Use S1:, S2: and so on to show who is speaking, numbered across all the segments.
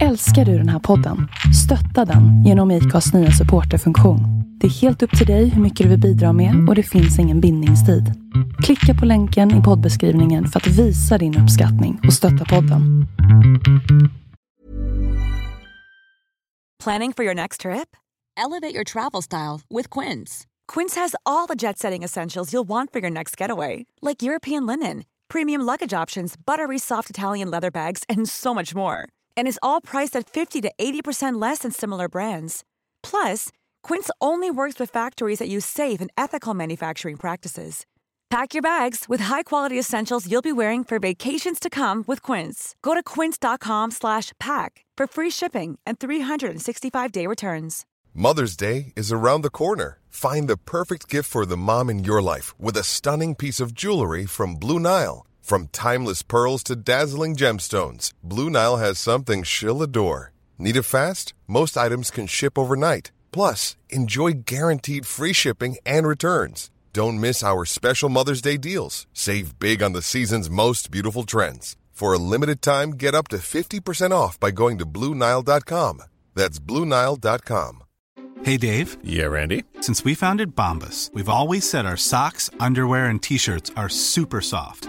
S1: Älskar du den här podden? Stötta den genom IKAs nya supporterfunktion. Det är helt upp till dig hur mycket du vill bidra med och det finns ingen bindningstid. Klicka på länken i poddbeskrivningen för att visa din uppskattning och stötta podden.
S2: Planning for your next trip? Elevate your travel style with Quince. Quince has all the jet setting essentials you'll want for your next getaway, like European linen, premium luggage options, buttery soft Italian leather bags, and so much more. And is all priced at 50 to 80% less than similar brands. Plus, Quince only works with factories that use safe and ethical manufacturing practices. Pack your bags with high-quality essentials you'll be wearing for vacations to come with Quince. Go to quince.com/pack for free shipping and 365-day returns.
S3: Mother's Day is around the corner. Find the perfect gift for the mom in your life with a stunning piece of jewelry from Blue Nile. From timeless pearls to dazzling gemstones, Blue Nile has something she'll adore. Need it fast? Most items can ship overnight. Plus, enjoy guaranteed free shipping and returns. Don't miss our special Mother's Day deals. Save big on the season's most beautiful trends. For a limited time, get up to 50% off by going to BlueNile.com. That's BlueNile.com.
S4: Hey Dave,
S5: Yeah, Randy.
S4: since we founded Bombus, we've always said our socks, underwear, and t shirts are super soft.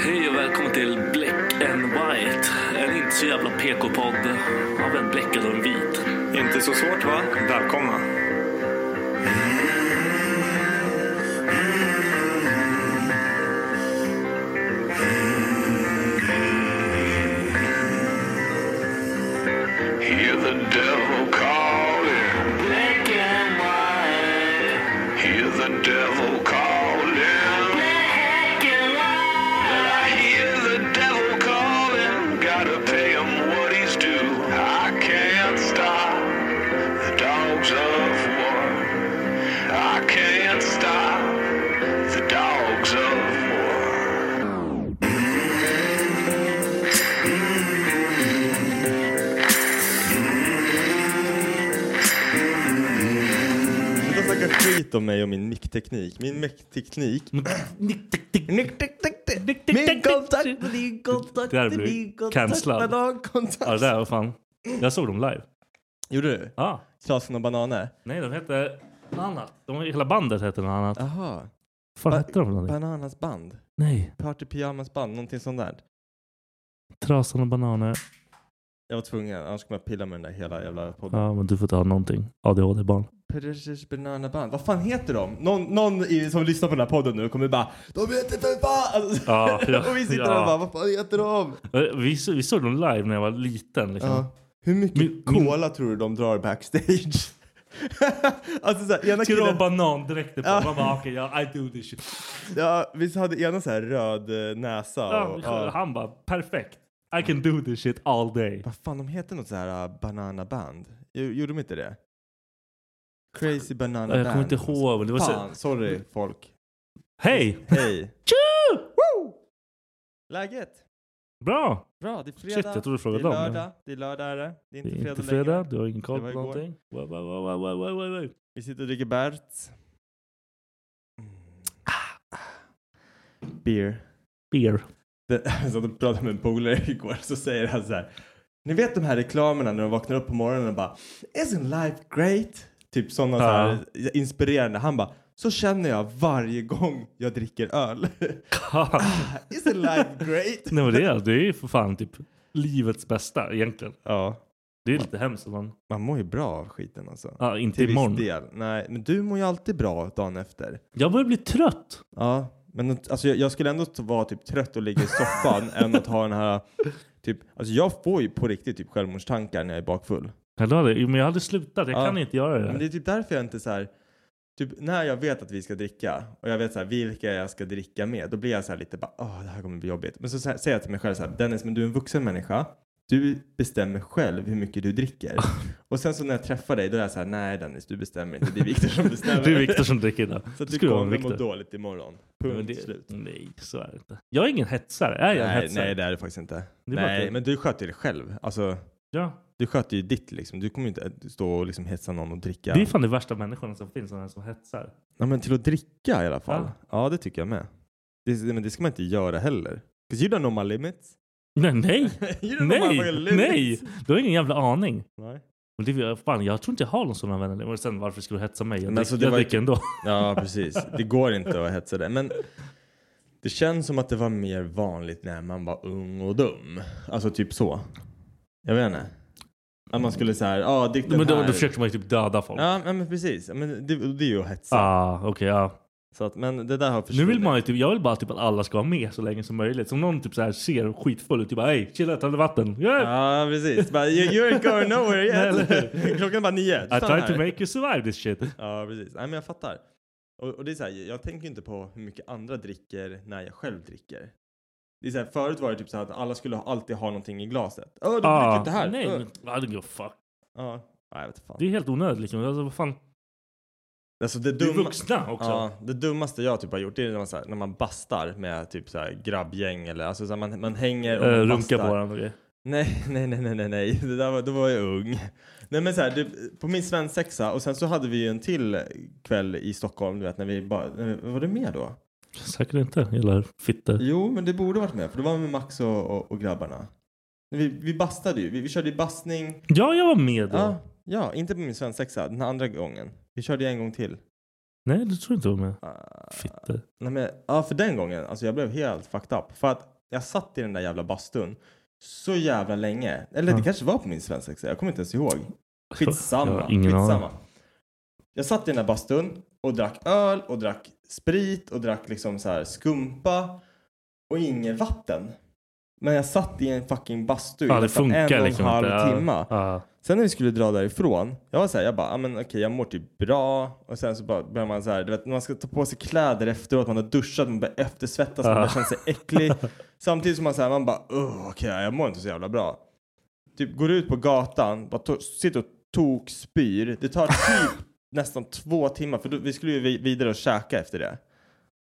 S6: Hej och välkommen till Black and White. En inte så jävla PK-podd av en bläckad och en vit.
S7: Inte så svårt va? Välkomna.
S8: Hear the devil calling. Black and white. Hear the devil calling. Black and white. I hear the devil calling. Gotta pay him what he's due. I can't stop the dogs of war. I can't stop the dogs of war.
S7: Sluta snacka skit om mig och min mickteknik. Min mickteknik.
S6: Mm.
S7: Min kontakt med din kontakt
S6: Det här
S7: med
S6: blir
S7: din kontakt
S6: cancellad.
S7: med någon
S6: Ja, det
S7: kontakt.
S6: där var fan. Jag såg dem live.
S7: Gjorde du?
S6: Ja.
S7: Klasen och bananer?
S6: Nej, de hette något annat. De, hela bandet hette något annat. Vad
S7: Jaha.
S6: fan
S7: ba-
S6: hette de? för någonting?
S7: Bananas band?
S6: Nej,
S7: Party Pyjamas band? Någonting sånt där.
S6: Trasan och bananer.
S7: Jag var tvungen, annars kommer jag pilla med den där hela jävla podden.
S6: Ja, men du får ta någonting. ADHD-barn.
S7: Precious Banana Band. Vad fan heter de? Någon, någon i, som lyssnar på den här podden nu kommer bara De heter för fan! Alltså,
S6: Ja, ja,
S7: och vi sitter
S6: ja.
S7: där och bara vad fan heter de?
S6: Eh, Vi, så- vi såg dem live när jag var liten. Liksom.
S7: Ja. Hur mycket
S6: Min- min-
S7: cola tror du de drar backstage? alltså såhär, ena
S6: Skulle ha
S7: killen,
S6: banandräkter på.
S7: Ja.
S6: Man bara, okej, ja, I do this shit.
S7: ja, vi hade ena såhär röd eh, näsa
S6: Ja,
S7: och, ja.
S6: Han bara, perfekt. I can do this shit all day.
S7: Vad fan, de heter något såhär uh, Banana Band. Jo- Gjorde de inte det? Crazy Banana Band.
S6: Jag kommer inte ihåg. men Det var så...
S7: Fan, sorry folk.
S6: Hej!
S7: Hej!
S6: Tju!
S7: Woo! Läget?
S6: Bra!
S7: Bra, det är fredag.
S6: jag trodde du frågade
S7: det är
S6: dem, men-
S7: lördag. Det är lördag är det. Det är
S6: Det
S7: inte
S6: är
S7: fredag
S6: inte fredag,
S7: längre.
S6: du har ingen koll
S7: Det var
S6: på
S7: igår.
S6: någonting. Wow, wow, wow, wow, wow, wow, wow, wow.
S7: Vi sitter och dricker Berts.
S6: Mm.
S7: Ah, Beer.
S6: Beer.
S7: Det, alltså, de pratade med en polare igår så säger han så här. Ni vet de här reklamerna när de vaknar upp på morgonen och bara Isn't life great? Typ sådana så här inspirerande. Han bara så känner jag varje gång jag dricker öl. Isn't life great?
S6: Nej men det är, det är ju för fan typ livets bästa egentligen.
S7: ja,
S6: Det är lite hemskt om man...
S7: man mår ju bra av skiten alltså.
S6: Ja, inte
S7: Till
S6: imorgon.
S7: viss del. Nej, men du mår ju alltid bra dagen efter.
S6: Jag börjar bli trött.
S7: Ja, men alltså, jag, jag skulle ändå t- vara typ trött och ligga i soffan än att ha den här typ, alltså jag får ju på riktigt typ självmordstankar när jag är bakfull.
S6: Jag hade, men jag hade slutat, jag
S7: Ja.
S6: kan inte göra det.
S7: Men det är typ därför jag inte så här, typ när jag vet att vi ska dricka och jag vet så här vilka jag ska dricka med, då blir jag så här lite bara, åh det här kommer bli jobbigt. Men så, så här, säger jag till mig själv så här, Dennis men du är en vuxen människa, du bestämmer själv hur mycket du dricker. Och sen så när jag träffar dig, då är jag så här, nej Dennis, du bestämmer inte. Det är Viktor som bestämmer.
S6: Det är Viktor som dricker idag.
S7: Så att
S6: Det
S7: du
S6: skulle vara en
S7: kommer må
S6: Viktor.
S7: dåligt imorgon.
S6: Men
S7: Punkt
S6: det-
S7: slut.
S6: Nej, så är det inte. Jag är ingen hetsare. Är jag en
S7: Nej,
S6: hetsare?
S7: nej, det är det faktiskt inte.
S6: är bara
S7: Nej,
S6: kul.
S7: men du sköter det själv. Alltså,
S6: Ja.
S7: du sköter ju ditt liksom. Du kommer ju inte stå och liksom hetsa någon och dricka.
S6: Det är fan de värsta människorna som finns, sådana här som hetsar.
S7: Ja, men till att dricka i alla fall.
S6: Ja.
S7: Ja, det tycker jag med. Det, men det ska man inte göra heller. 'Cause you don't know my limits.
S6: Nej, nej,
S7: you don't know my fucking
S6: nej, nej!
S7: limits.
S6: Du har ingen jävla aning.
S7: nej.
S6: Men det, är- fan, jag tror inte jag har någon sån vän. Och sen varför skulle du hetsa mig? Jag,
S7: Men
S6: drick,
S7: alltså, det
S6: jag
S7: var ju-
S6: dricker ändå.
S7: Ja, precis. Det går inte att hetsa det. Men det känns som att det var mer vanligt när man var ung och dum. Alltså typ så. Jag vet inte. Att man skulle säga, ja, drick den
S6: Men då,
S7: här.
S6: då försöker man ju typ döda folk.
S7: Ja, men precis. Ja, Men det, det är ju att hetsa.
S6: Ah, okej, ja.
S7: Så att, men det där har försvunnit.
S6: Nu vill man ju typ, jag vill bara typ att alla ska vara med så länge som möjligt. Som någon typ så här ser skitfull ut, typ bara hej, chilla, ta lite vatten. Yeah.
S7: Ja, precis. Bara, you, you ain't going nowhere
S6: Nej, eller hur?
S7: yet. Klockan är bara nio.
S6: I
S7: Stanna
S6: tried to
S7: här.
S6: make you survive this shit.
S7: Ja, precis. Nej, men jag fattar. Och, och det är så här, jag tänker inte på hur mycket andra dricker när jag själv dricker. Det är så här, förut var det typ så här att alla skulle ha- alltid ha någonting i glaset. Åh, du dricker inte här.
S6: Ah, nej,
S7: Öh.
S6: men, I don't give a fuck.
S7: Ja, nej, jag vet inte fan.
S6: Det är helt onödigt liksom. Alltså, vad fan.
S7: alltså, det
S6: Vi är
S7: dumma,
S6: vuxna också. Eh,
S7: ja, det dummaste jag typ har gjort det är när man, så här, när man bastar med typ så här grabbgäng eller alltså så här, man, man hänger och
S6: Eh,
S7: man
S6: runka på
S7: bastar.
S6: varandra och grejer.
S7: Nej, nej, nej, nej, nej, nej. Det där var, då var jag ung. Nej, men så här, det, på min svensexa och sen så hade vi ju en till kväll i Stockholm, du vet, när vi bara, när vi- var du med då?
S6: Säkert inte. Gillar fitter.
S7: Jo, men det borde varit med, för det var med Max och, och, och grabbarna. Men Vi, vi bastade ju, vi, vi körde ju bastning.
S6: Ja, jag var med då.
S7: Ja, ja, inte på min svensexa, den andra gången. Vi körde ju en gång till.
S6: Nej, du tror jag inte jag var med.
S7: Ah,
S6: Fitter.
S7: Nej, men, ja, för den gången, alltså jag blev helt fucked up. För att jag satt i den där jävla bastun så jävla länge. Eller
S6: Ja.
S7: det kanske var på min svensexa, jag kommer inte ens ihåg. Skitsamma.
S6: Jag har ingen
S7: skitsamma.
S6: aning.
S7: Jag satt i den där bastun och drack öl och drack sprit och drack liksom så här skumpa och inget vatten. Men jag satt i en fucking bastu i
S6: Ja, det
S7: nästan
S6: funkar
S7: en och en
S6: liksom
S7: halv
S6: inte. Ja,
S7: timma.
S6: ja.
S7: Sen när vi skulle dra därifrån, jag var såhär, jag bara, ah, men okej jag mår typ bra. Och sen så bara börjar man såhär, du vet när man ska ta på sig kläder efteråt, man har duschat, man börjar eftersvettas, man
S6: Ja.
S7: börjar känna sig äcklig. Samtidigt som man såhär, man bara, oh, okej jag mår inte så jävla bra. Typ går ut på gatan, bara to- sitter och tokspyr. Det tar typ nästan två timmar, för då, vi skulle ju vi- vidare och käka efter det.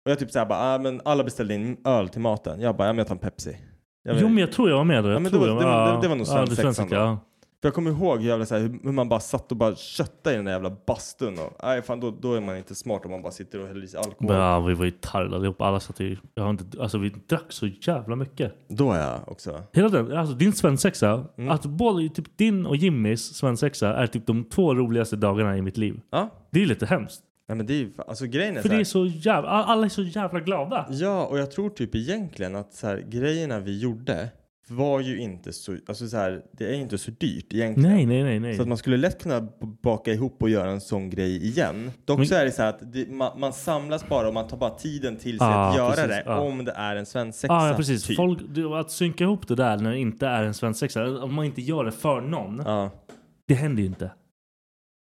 S7: Och jag typ såhär bara, ah, men alla beställde in öl till maten. Jag bara, ja men jag tar en Pepsi. Jag
S6: Jo,
S7: vet-
S6: men jag tror jag var med då. Jag
S7: Ja, men det
S6: tror
S7: var-
S6: jag
S7: det var-
S6: ja.
S7: det var nog
S6: Ja, det
S7: svensexan
S6: svenska,
S7: då.
S6: ja.
S7: För jag kommer ihåg hur, jävla, så här, hur hur man bara satt och bara köttade i den där jävla bastun. Och, nej, fan, då, då är man inte smart om man bara sitter och häller i sig alkohol.
S6: Men, ja, vi var ju tarvade allihop. Alla satt ju... Jag har inte, alltså vi drack så jävla mycket.
S7: Då är jag också.
S6: Hela den, alltså din svensexa,
S7: Mm.
S6: att både typ din och Jimmys svensexa är typ de två roligaste dagarna i mitt liv.
S7: Ja.
S6: Det är lite hemskt.
S7: Nej, men det är ju, alltså grejen
S6: För
S7: är, så
S6: det
S7: här,
S6: är så jävla, alla är så jävla glada.
S7: Ja, och jag tror typ egentligen att så här, grejerna vi gjorde var ju inte så, alltså så här, det är inte så dyrt egentligen.
S6: Nej, nej, nej, nej.
S7: Så att man skulle lätt kunna b- baka ihop och göra en sån grej igen. Dock
S6: Men-
S7: så är det så här att det, man, man samlas bara och man tar bara tiden till sig
S6: Ah,
S7: att göra
S6: precis,
S7: det
S6: ah.
S7: om det är en svensexa.
S6: ah, ja, precis.
S7: Typ.
S6: Folk, det- att synka ihop det där när det inte är en svensexa, om man inte gör det för någon,
S7: Ja.
S6: det händer ju inte.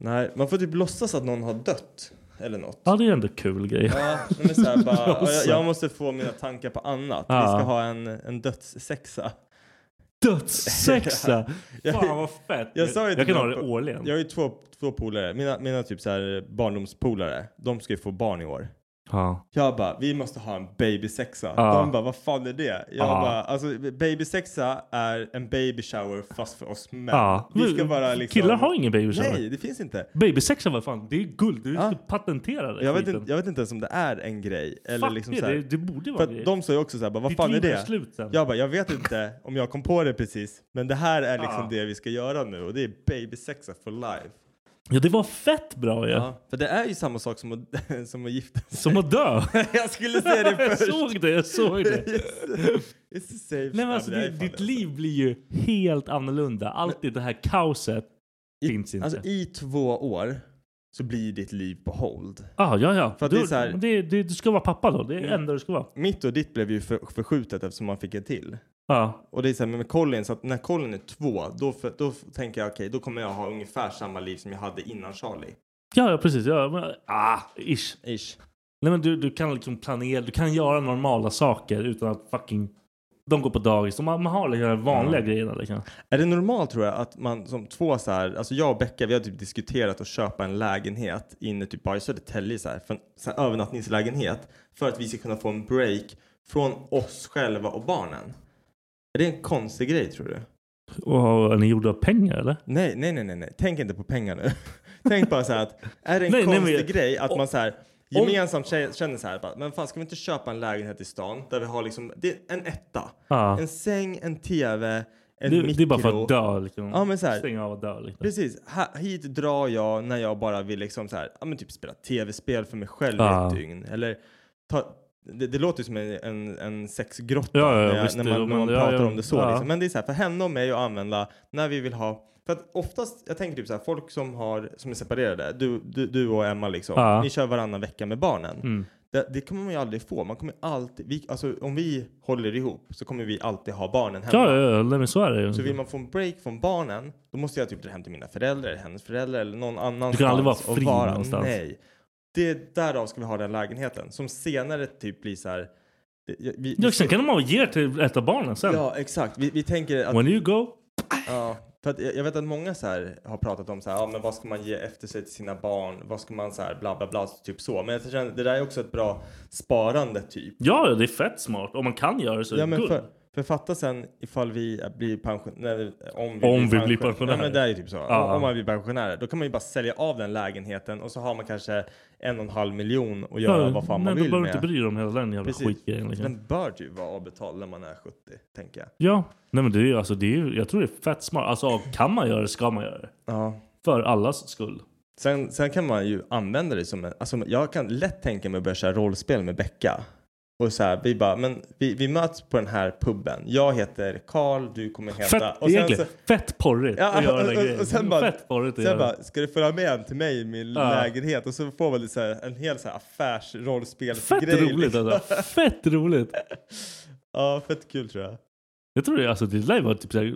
S7: Nej, man får typ låtsas att någon har dött. Eller något.
S6: Ja, det är ändå kul grej.
S7: Ja, nej, men så här bara, ja, jag,
S6: Låtsas.
S7: jag måste få mina tankar på annat.
S6: Ja.
S7: Vi ska ha en, en dödssexa.
S6: Dödssexa!
S7: Jag-
S6: Fan vad fett!
S7: jag sa ju
S6: jag
S7: till
S6: kan ha
S7: någon
S6: det
S7: på-
S6: årligen.
S7: Jag har ju två, två polare, mina, mina typ så här barndomspolare, de ska ju få barn i år.
S6: Ja.
S7: Jag bara, vi måste ha en babysexa.
S6: Ja.
S7: De bara, vad fan är det? Jag
S6: Ja.
S7: bara, alltså babysexa är en baby shower fast för oss män.
S6: Ja.
S7: Vi ska bara liksom...
S6: Killar har ingen babyshower.
S7: Nej, det finns inte.
S6: Babysexa vad fan, det är guld. Du
S7: Ja.
S6: ska patentera det.
S7: Jag vet,
S6: skiten.
S7: inte, jag vet inte ens om det är en grej. Eller
S6: Fuck
S7: liksom
S6: det,
S7: så här,
S6: det, det borde
S7: För
S6: vara det.
S7: att de sa ju också så här, bara, vad
S6: Ditt
S7: fan är
S6: liv
S7: det?
S6: är slut sen.
S7: Jag bara, jag vet inte om jag kom på det precis, men det här är liksom
S6: Ah.
S7: det vi ska göra nu och det är babysexa for life.
S6: Ja, det var fett bra ju.
S7: Ja. För det är ju samma sak som att, som att gifta sig.
S6: Som att dö.
S7: jag skulle säga det
S6: jag
S7: först.
S6: såg det, jag såg det.
S7: It's the safe
S6: Nej men alltså
S7: det är
S6: det,
S7: fan
S6: ditt
S7: det.
S6: liv blir ju helt annorlunda. Allt i det här kaoset finns inte.
S7: Alltså i två år så blir ditt liv på hold.
S6: ah, ja, ja.
S7: För att
S6: du,
S7: det är så här- Mm.
S6: det, det, du ska vara pappa då. Det är det enda du ska vara.
S7: Mitt och ditt blev ju för, förskjutet eftersom man fick en till.
S6: Ja.
S7: Och det är så här, men med Colin, så att när Colin är två, då, för, då tänker jag okej, då kommer jag ha ungefär samma liv som jag hade innan Charlie.
S6: Ja, ja precis. Ja, men, ah, ish.
S7: Ish.
S6: Nej men du, du kan liksom planera, du kan göra normala saker utan att fucking De går på dagis. De, man man har liksom de vanliga grejerna. Liksom.
S7: Är det normalt tror jag att man som två så här, alltså jag och Becka vi har typ diskuterat att köpa en lägenhet inne typ bara i Södertälje så här, för en så här, övernattningslägenhet för att vi ska kunna få en break från oss själva och barnen. Är det en konstig grej tror du?
S6: Och är ni gjorda av pengar eller?
S7: Nej, nej, nej, nej, nej. tänk inte på pengar nu. tänk bara så här att är det en
S6: Nej, nej, men-
S7: konstig grej att man så här
S6: om-
S7: gemensamt kä- känner så här, bara, men fan ska vi inte köpa en lägenhet i stan där vi har liksom, det är en etta,
S6: Ja.
S7: en säng, en tv, en
S6: Det,
S7: mikro.
S6: det är bara för att dö. Liksom.
S7: Ja, men så här-
S6: Stänga av och dö. Liksom.
S7: Precis. Ha- hit drar jag när jag bara vill liksom så här, ja, men typ spela tv-spel för mig själv i
S6: Ja.
S7: ett dygn. Eller ta, det, det låter ju som en, en, en sexgrotta
S6: Ja, ja,
S7: när, jag,
S6: visst,
S7: när man,
S6: det-
S7: när man
S6: men- ja,
S7: pratar
S6: ja,
S7: om det så.
S6: ja.
S7: Liksom. Men det är så här, för henne och mig att använda när vi vill ha. För att oftast, jag tänker typ så här, folk som, har, som är separerade, du, du, du och Emma liksom,
S6: Ja.
S7: ni kör varannan vecka med barnen.
S6: Mm.
S7: Det, det kommer man ju aldrig få. Man kommer alltid, vi, alltså, om vi håller ihop så kommer vi alltid ha barnen hemma.
S6: Ja, ja, ja, nej, men så är det ju.
S7: Så vill man få en break från barnen, då måste jag typ dra hem till mina föräldrar, eller hennes föräldrar eller någon annanstans.
S6: aldrig vara
S7: och
S6: fri någonstans.
S7: Nej. Det är därav ska vi ha den lägenheten som senare typ blir så här. det- ja, Vi,
S6: Ja, sen kan de avge till ett av barnen sen.
S7: ja exakt. Vi, vi tänker att,
S6: When you go.
S7: ja, för att jag jag vet att många så här har pratat om så här, ja men vad ska man ge efter sig till sina barn? Vad ska man så här bla bla bla, typ så. Men jag känner, det där är också ett bra sparande typ.
S6: Ja, det är fett smart. Om man kan göra det så är
S7: Ja,
S6: det
S7: men
S6: guld.
S7: för, för fatta sen ifall vi blir pensionärer. Om
S6: Om vi blir
S7: pension-
S6: pensionärer.
S7: Ja, men det är ju typ så.
S6: Ja.
S7: Om- Om man blir pensionärer. Då kan man ju bara sälja av den lägenheten och så har man kanske en och en halv miljon och göra vad fan man
S6: nej,
S7: vill
S6: Då behöver du inte
S7: med.
S6: bry dig om hela den jävla
S7: Precis.
S6: skitgrejen. Liksom.
S7: Den bör ju vara avbetald när man är 70, tänker jag.
S6: Ja, nej men det är ju, alltså, det är ju, jag tror det är fett smart. Alltså kan man göra det ska man göra det.
S7: Ja.
S6: För allas skull.
S7: Sen, sen kan man ju använda det som en, alltså jag kan lätt tänka mig att börja köra rollspel med Becka. Och så här, vi bara, men vi, vi möts på den här puben. Jag heter Karl, du kommer heta...
S6: Fett,
S7: och sen
S6: egentligen, fett porrigt
S7: Ja,
S6: att göra den
S7: och- och-
S6: grejen.
S7: och sen bara-
S6: fett porrigt att
S7: Sen
S6: göra.
S7: bara, ska du följa med hem till mig i min
S6: Ja.
S7: lägenhet? Och så får man lite så här, en hel så här affärsrollspelsgrej.
S6: fett roligt
S7: liksom.
S6: alltså. Fett roligt.
S7: Ja, fett kul tror jag.
S6: Jag tror det, alltså det lär ju vara typ såhär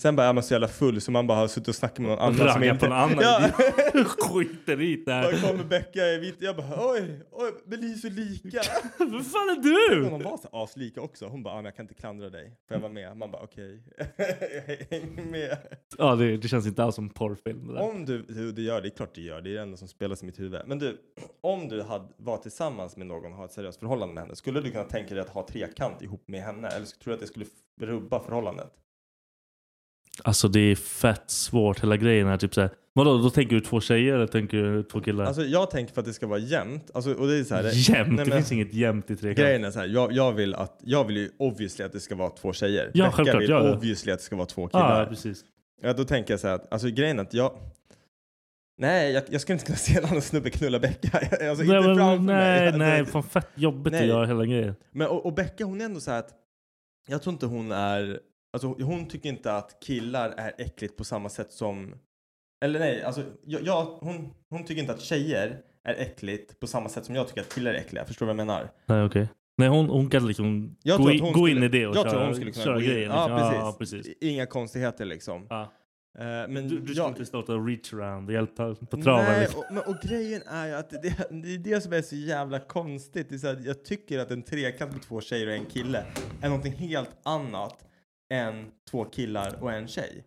S7: Sen bara är man så jävla full så man bara har suttit och snackat med någon annan. som
S6: ragga
S7: inte-
S6: på någon annan.
S7: Ja.
S6: Skiter i det här.
S7: Bara kommer Becka i mitt. Jag bara oj, oj, men ni är så lika.
S6: Vad fan är du?
S7: Hon var så aslika också. Hon bara, ah, men jag kan inte klandra dig. Får jag vara med? Man bara okej. Jag hänger med.
S6: Ja, det, det känns inte alls som porrfilm det där.
S7: Om du, du, du gör det, är klart du gör det. Det är det enda som spelas i mitt huvud. Men du, om du hade, var tillsammans med någon och har ett seriöst förhållande med henne, skulle du kunna tänka dig att ha trekant ihop med henne? Eller tror du att det skulle f- rubba förhållandet?
S6: Alltså det är fett svårt hela grejen här. Typ såhär. Vadå, då tänker du två tjejer eller tänker du två killar?
S7: Alltså jag tänker för att det ska vara jämnt. Alltså, och det är så här, det,
S6: jämnt?
S7: Nej,
S6: det
S7: men-
S6: finns inget jämnt i trekant.
S7: Grejen är så här, jag, jag, vill att, jag vill ju obviously att det ska vara två tjejer.
S6: Ja,
S7: Becka
S6: självklart,
S7: vill
S6: ja, ja.
S7: obviously att det ska vara två killar.
S6: Ja, precis.
S7: Ja, då tänker jag så här att, alltså grejen är att jag... Nej, jag, jag skulle inte kunna se en annan snubbe knulla Becka. Alltså inte
S6: nej, men-
S7: framför mig.
S6: nej,
S7: Alltså,
S6: nej, fan fett jobbigt
S7: Nej.
S6: att göra hela grejen.
S7: Men och, och Becka hon är ändå så här att jag tror inte hon är, alltså hon tycker inte att killar är äckligt på samma sätt som, eller nej, alltså jag, jag, hon, hon tycker inte att tjejer är äckligt på samma sätt som jag tycker att killar är äckliga. Förstår du vad jag menar?
S6: Nej, okej. Nej, hon, hon kan liksom
S7: Jag
S6: gå,
S7: tror
S6: in,
S7: att hon
S6: gå in
S7: skulle-
S6: i det och
S7: jag
S6: köra,
S7: tror hon skulle kunna
S6: köra
S7: gå in.
S6: grejen.
S7: Ja,
S6: liksom. Ja,
S7: precis.
S6: precis.
S7: Inga konstigheter liksom.
S6: Ja.
S7: Eh, men
S6: Du, du ska
S7: jag,
S6: inte starta reach around och hjälpa på traven.
S7: Nej,
S6: liksom.
S7: och, men, och grejen är ju att det, det är det som är så jävla konstigt. Det är så här, jag tycker att en trekant med två tjejer och en kille är någonting helt annat än två killar och en tjej.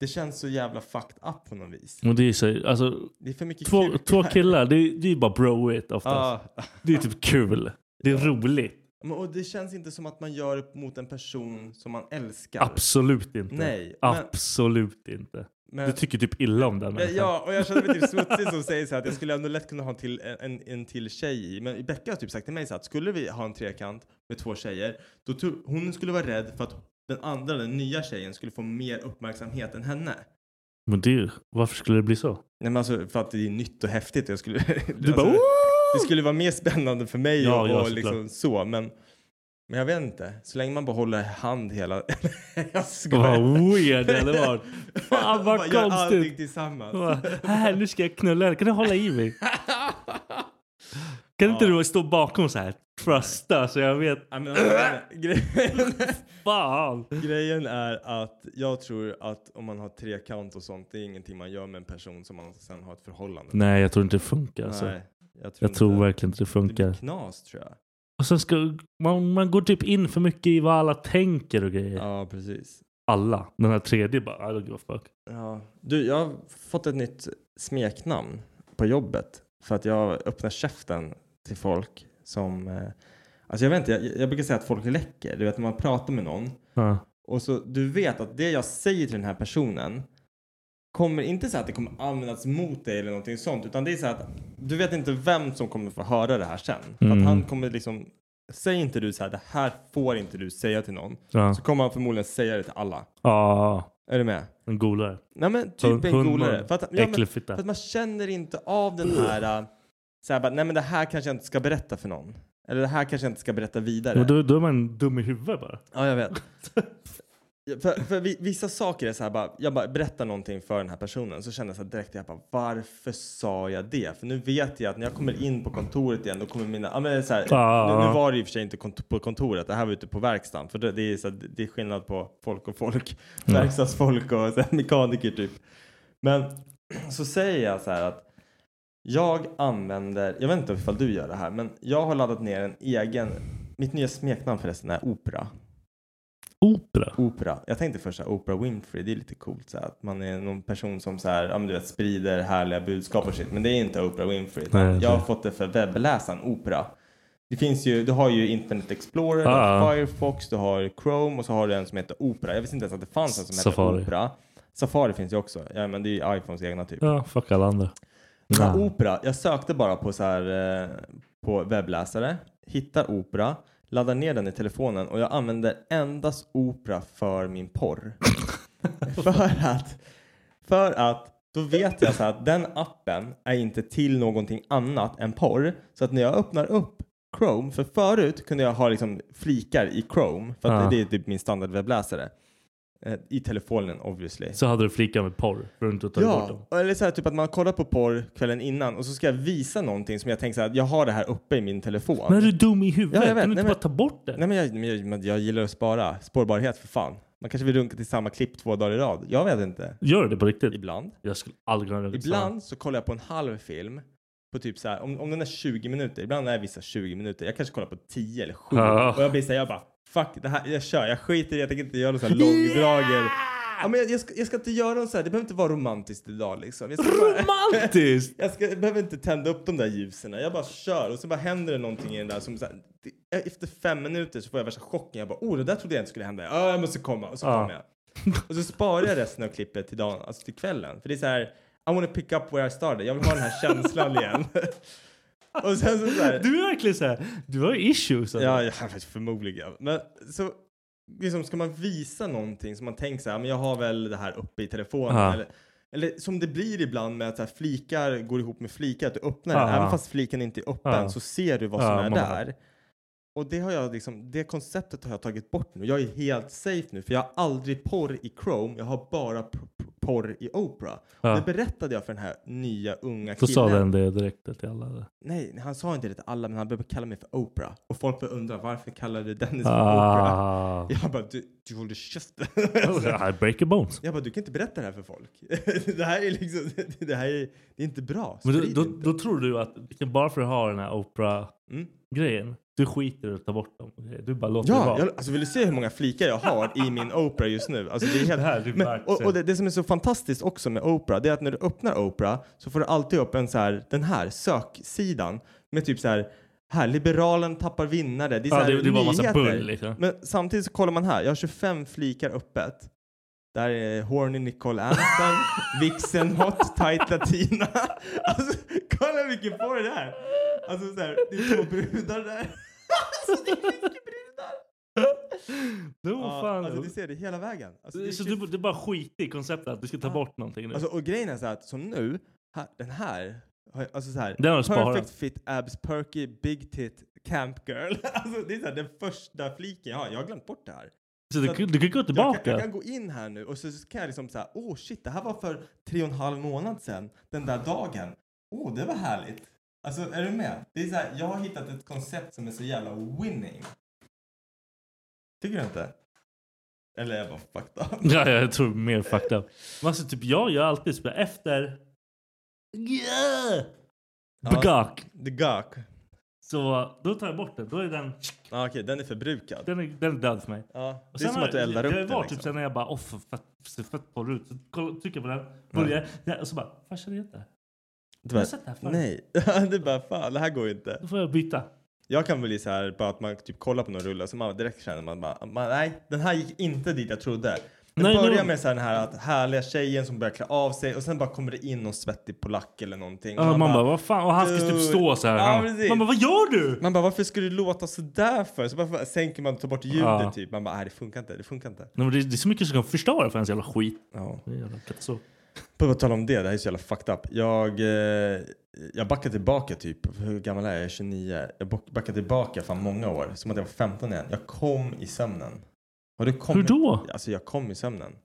S7: Det känns så jävla fucked up på något vis.
S6: Och det är så, alltså,
S7: Det är för mycket
S6: två,
S7: kukar.
S6: två killar, det, är- det är bara broigt oftast.
S7: Ja.
S6: Det är typ kul. Det är roligt.
S7: Men, och det känns inte som att man gör det mot en person som man älskar.
S6: Absolut inte.
S7: Nej, men-
S6: Absolut inte.
S7: Men,
S6: Du tycker typ illa om den
S7: men,
S6: människan.
S7: ja, och jag känner mig typ smutsig som säger så här att jag skulle ändå lätt kunna ha en till, en, en till tjej i. Men Becka har typ sagt till mig så här att skulle vi ha en trekant med två tjejer, då tror- hon skulle vara rädd för att den andra, den nya tjejen, skulle få mer uppmärksamhet än henne.
S6: Men det, är ju- varför skulle det bli så?
S7: Nej men alltså för att det är nytt och häftigt. Jag skulle,
S6: Du bara
S7: alltså,
S6: "Åh!"
S7: Det skulle vara mer spännande för mig
S6: Ja,
S7: och,
S6: ja,
S7: och
S6: såklart.
S7: liksom så. Men, men jag vet inte. Så länge man bara håller hand hela... jag
S6: Vad
S7: skojar.
S6: weird det hade varit. Fan vad
S7: Man Gör allting
S6: konstigt.
S7: tillsammans.
S6: Bara, Här, nu ska jag knulla henne. Kan du hålla i mig? Kan inte du stå bakom så här? Trusta så jag vet.
S7: Ja, men, alltså, grejen-
S6: Fan.
S7: Grejen är att jag tror att om man har trekant och sånt, det är ingenting man gör med en person som man sen har ett förhållande med.
S6: Nej, jag tror inte det funkar. Alltså.
S7: jag tror,
S6: Jag tror
S7: inte.
S6: verkligen inte det
S7: det blir
S6: funkar.
S7: knas tror jag.
S6: Och sen ska man, man går typ in för mycket i vad alla tänker och grejer.
S7: Ja, precis.
S6: Alla. Den här tredje bara, I don't give a fuck.
S7: Ja. Du, jag har fått ett nytt smeknamn på jobbet för att jag öppnar käften till folk som... Eh, alltså jag vet inte, jag, jag brukar säga att folk läcker. Du vet när man pratar med någon
S6: Ja.
S7: och så du vet att det jag säger till den här personen kommer inte så att det kommer användas mot dig eller någonting sånt utan det är så att du vet inte vem som kommer få höra det här sen. För
S6: Mm.
S7: att han kommer liksom, säg inte du så här, det här får inte du säga till någon.
S6: Ja.
S7: Så kommer han förmodligen säga det till alla.
S6: Ja,
S7: Är du med?
S6: en golare.
S7: Nej men typ en
S6: Hund-
S7: golare.
S6: hund-
S7: För att, ja, men,
S6: äcklig
S7: för
S6: fitta.
S7: att man känner inte av den här, äh, så här bara, nej men det här kanske jag inte ska berätta för någon. Eller det här kanske jag inte ska berätta vidare.
S6: Men då, då är man dum i huvudet bara.
S7: Ja jag vet. Ja, för, för vi- vissa saker är så här bara, jag bara berättar någonting för den här personen så känner jag så här direkt, jag bara varför sa jag det? För nu vet jag att när jag kommer in på kontoret igen då kommer mina, ja men så här,
S6: Ja.
S7: nu, nu var det i och för sig inte kont- på kontoret, det här var ute på verkstaden. För det, det, är, så här, det är skillnad på folk och folk,
S6: Mm.
S7: verkstadsfolk och så här, mekaniker typ. Men så säger jag så här att jag använder, jag vet inte ifall du gör det här, men jag har laddat ner en egen, mitt nya smeknamn förresten är opera.
S6: Opera.
S7: Opera. Jag tänkte först så här, Oprah Winfrey, det är lite coolt så här, att man är någon person som så här, ja, men du vet, sprider härliga budskap och shit. Men det är inte Oprah Winfrey. utan
S6: Nej, det är
S7: jag har
S6: det.
S7: fått det för webbläsaren Opera. Det finns ju, du har ju Internet Explorer, du
S6: Ah,
S7: har
S6: ah.
S7: Firefox, du har Chrome och så har du en som heter Opera. Jag visste inte ens att det fanns en som
S6: Safari.
S7: heter Opera. Safari finns ju också. Ja, men det är ju iPhones egna typ.
S6: Ja, fuck alla andra.
S7: Den här
S6: Ja.
S7: Opera, jag sökte bara på, så här, eh, på webbläsare, hittar Opera, laddar ner den i telefonen och jag använder endast Opera för min porr. för, att, för att då vet jag så här, att den appen är inte till någonting annat än porr. Så att när jag öppnar upp Chrome, för förut kunde jag ha liksom flikar i Chrome, för att
S6: Ja.
S7: det är typ min standardwebbläsare. Eh, I telefonen obviously.
S6: Så hade du flikat med porr. För att inte ta bort dem.
S7: Ja, eller så här, typ att man kollar på porr kvällen innan och så ska jag visa någonting som jag tänker så här, jag har det här uppe i min telefon.
S6: Men är du dum i huvudet?
S7: Ja, jag vet.
S6: Kan du inte
S7: Nej,
S6: bara
S7: men-
S6: ta bort det?
S7: Nej men jag, men jag, men jag gillar att spara. Spårbarhet för fan. Man kanske vill runka till samma klipp två dagar i rad. Jag vet inte.
S6: Gör det på riktigt?
S7: Ibland.
S6: Jag skulle aldrig kunna göra det.
S7: Ibland så kollar jag på en halv film. På typ så här, om, om den är 20 minuter. Ibland är vissa 20 minuter. Jag kanske kollar på 10 eller 7.
S6: Ja.
S7: Och jag blir så här, jag bara fuck det här, jag kör. Jag skiter i det. Jag tänker inte göra någon sån här långdragen. Ja, men jag, jag, ska, jag ska inte göra någon så här, det behöver inte vara romantiskt idag liksom. Jag ska bara-
S6: Romantiskt!
S7: Jag, ska, jag behöver inte tända upp de där ljusen. Jag bara kör och så bara händer det någonting i den där som så här, det- efter fem minuter så får jag värsta chocken. Jag bara oh det där trodde jag inte skulle hända. Ja jag måste komma och så
S6: Ja.
S7: kommer jag. Och så sparar jag resten av klippet till dagen, alltså till kvällen. För det är så här I wanna pick up where I started. Jag vill ha den här känslan igen. och sen så, så här,
S6: Du är verkligen såhär, du har issues. alltså.
S7: Ja, ja förmodligen. Men så liksom, ska man visa någonting som man tänker så här, men jag har väl det här uppe i telefonen.
S6: Ja.
S7: Eller, eller som det blir ibland med att så här, flikar går ihop med flikar, att du öppnar
S6: Ja.
S7: den. Även fast fliken inte är öppen
S6: Ja.
S7: så ser du vad
S6: Ja,
S7: som är
S6: man har-
S7: där. Och det har jag liksom, det konceptet har jag tagit bort nu. Jag är helt safe nu för jag har aldrig porr i Chrome, jag har bara p- p- porr i Opera.
S6: Ja.
S7: Och det berättade jag för den här nya unga
S6: Då
S7: killen.
S6: sa den det direkt till alla. där.
S7: Nej, han sa inte det till alla, men han började kalla mig för Oprah. Och folk började undra varför kallar du Dennis för Oprah?
S6: Ah. Oh,
S7: Jag bara, du, du håller käften.
S6: I break your bones.
S7: jag bara, du kan inte berätta det här för folk. det här är liksom, det här är, det är inte bra.
S6: Men då,
S7: Sprid
S6: då,
S7: inte.
S6: då tror du att liksom, bara för att ha den här Oprah-grejen, du
S7: Mm.
S6: skiter i att ta bort dem. Du bara låter det
S7: Ja,
S6: vara.
S7: jag, alltså vill du se hur många flikar jag har i min Oprah just nu? Alltså det är helt...
S6: Det här är
S7: men,
S6: verkligen-
S7: och och det, det som är så fantastiskt också med Oprah, det är att när du öppnar Oprah så får du alltid upp en så här, den här söksidan med typ så här, här, liberalen tappar vinnare. Det är så
S6: Ja,
S7: här
S6: det, det var massa
S7: nyheter.
S6: bull liksom.
S7: Men samtidigt så kollar man här, jag har 25 flikar öppet. Där är Horny Nicole Anton, Vixen Hot, Tight Latina. Alltså, kolla vilken porr det är! Alltså så här, det är två brudar där. Alltså det är mycket brudar!
S6: Det var
S7: Ja,
S6: fan.
S7: alltså du ser det hela vägen. Alltså, det är
S6: så
S7: tjugo-
S6: du, du bara skiter i konceptet att du ska ta
S7: Ja.
S6: bort någonting nu.
S7: alltså, och grejen är så här, att som nu, här, den här, har jag- alltså så här,
S6: Den har du
S7: perfect
S6: sparat.
S7: fit abs, perky, big tit, camp girl. Alltså det är så här, den första fliken jag har, jag har glömt bort det här.
S6: Så du,
S7: så att-
S6: du kan gå
S7: Jag
S6: tillbaka.
S7: kan, jag kan gå in här nu och så så kan jag liksom säga, åh oh shit, det här var för tre och en halv månad sedan, den där dagen. Åh, oh, det var härligt. Alltså, är du med? Det är så här, jag har hittat ett koncept som är så jävla winning. Tycker du inte? Eller är jag bara fucked up?
S6: Ja, jag tror mer fucked up. Men alltså, typ, jag gör alltid så här, efter... Yeah!
S7: Ja.
S6: Begak.
S7: The gak.
S6: Så då tar jag bort den. Då är den,
S7: Ja, Ah, okej, den är förbrukad.
S6: den, är, den är död för mig.
S7: Ja, det
S6: Sen
S7: är som
S6: har-
S7: att du eldar upp
S6: Det
S7: den.
S6: var
S7: liksom.
S6: typ sen när jag bara åh för fett, ser fett porr ut. Så kolla, trycker på den, börjar. Ja. Och så bara fan känner jag inte.
S7: Du bara,
S6: har sett det här förr.
S7: Nej, det är bara fan, det här går ju inte.
S6: Då får jag byta.
S7: Jag kan bli så här, bara att man typ kollar på någon rulle så man direkt känner man bara, man, nej, den här gick inte dit jag trodde. Det
S6: Nej,
S7: börjar
S6: nej.
S7: med så här, den här att härliga tjejen som börjar klä av sig och sen bara kommer det in någon svettig polack eller någonting.
S6: Ja,
S7: Och
S6: man, bara vad fan. Och han ska typ
S7: dude.
S6: stå så här.
S7: Ja,
S6: Han-
S7: precis.
S6: man bara vad gör du?
S7: man bara, varför skulle du låta så där för? Så bara sänker man och tar bort ljudet
S6: Ja.
S7: typ. Man bara, nej det funkar inte, det funkar inte.
S6: Nej, men det, det är så mycket som kan förstöra för ens jävla skit.
S7: Ja.
S6: Det är en jävla katastrof.
S7: På tal om det, det här är så jävla fucked up. Jag, eh, jag backar tillbaka typ, hur gammal är jag? Jag är 29. Jag back- backar tillbaka fan många år, som att jag var 15 igen. Jag kom i sömnen. Har du kommit?
S6: Hur då?
S7: Alltså jag kom i sömnen.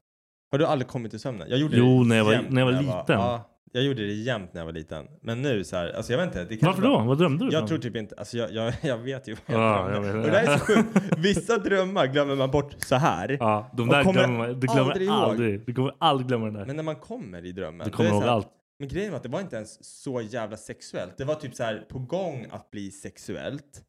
S7: Har du aldrig kommit i sömnen? Jag gjorde
S6: Jo,
S7: det
S6: när jag var-
S7: jämt
S6: när jag var liten.
S7: ja, jag gjorde det jämt när jag var liten. Men nu så här, alltså jag vet inte. Det kanske
S6: Varför då?
S7: var-
S6: Vad drömde du?
S7: Jag
S6: om?
S7: tror typ inte, alltså jag, jag, jag vet ju vad jag
S6: Ja, jag
S7: drömde.
S6: vet.
S7: Och det här är så sjukt. Vissa drömmar glömmer man bort så här.
S6: Ja, de
S7: Och
S6: där
S7: kommer
S6: glömmer man. Du glömmer
S7: aldrig
S6: aldrig.
S7: ihåg.
S6: Du kommer aldrig glömma den där.
S7: Men när man kommer i drömmen.
S6: du
S7: då
S6: kommer
S7: är det
S6: ihåg
S7: så här-
S6: allt.
S7: men grejen var att det var inte ens så jävla sexuellt. Det var typ så här på gång att bli sexuellt.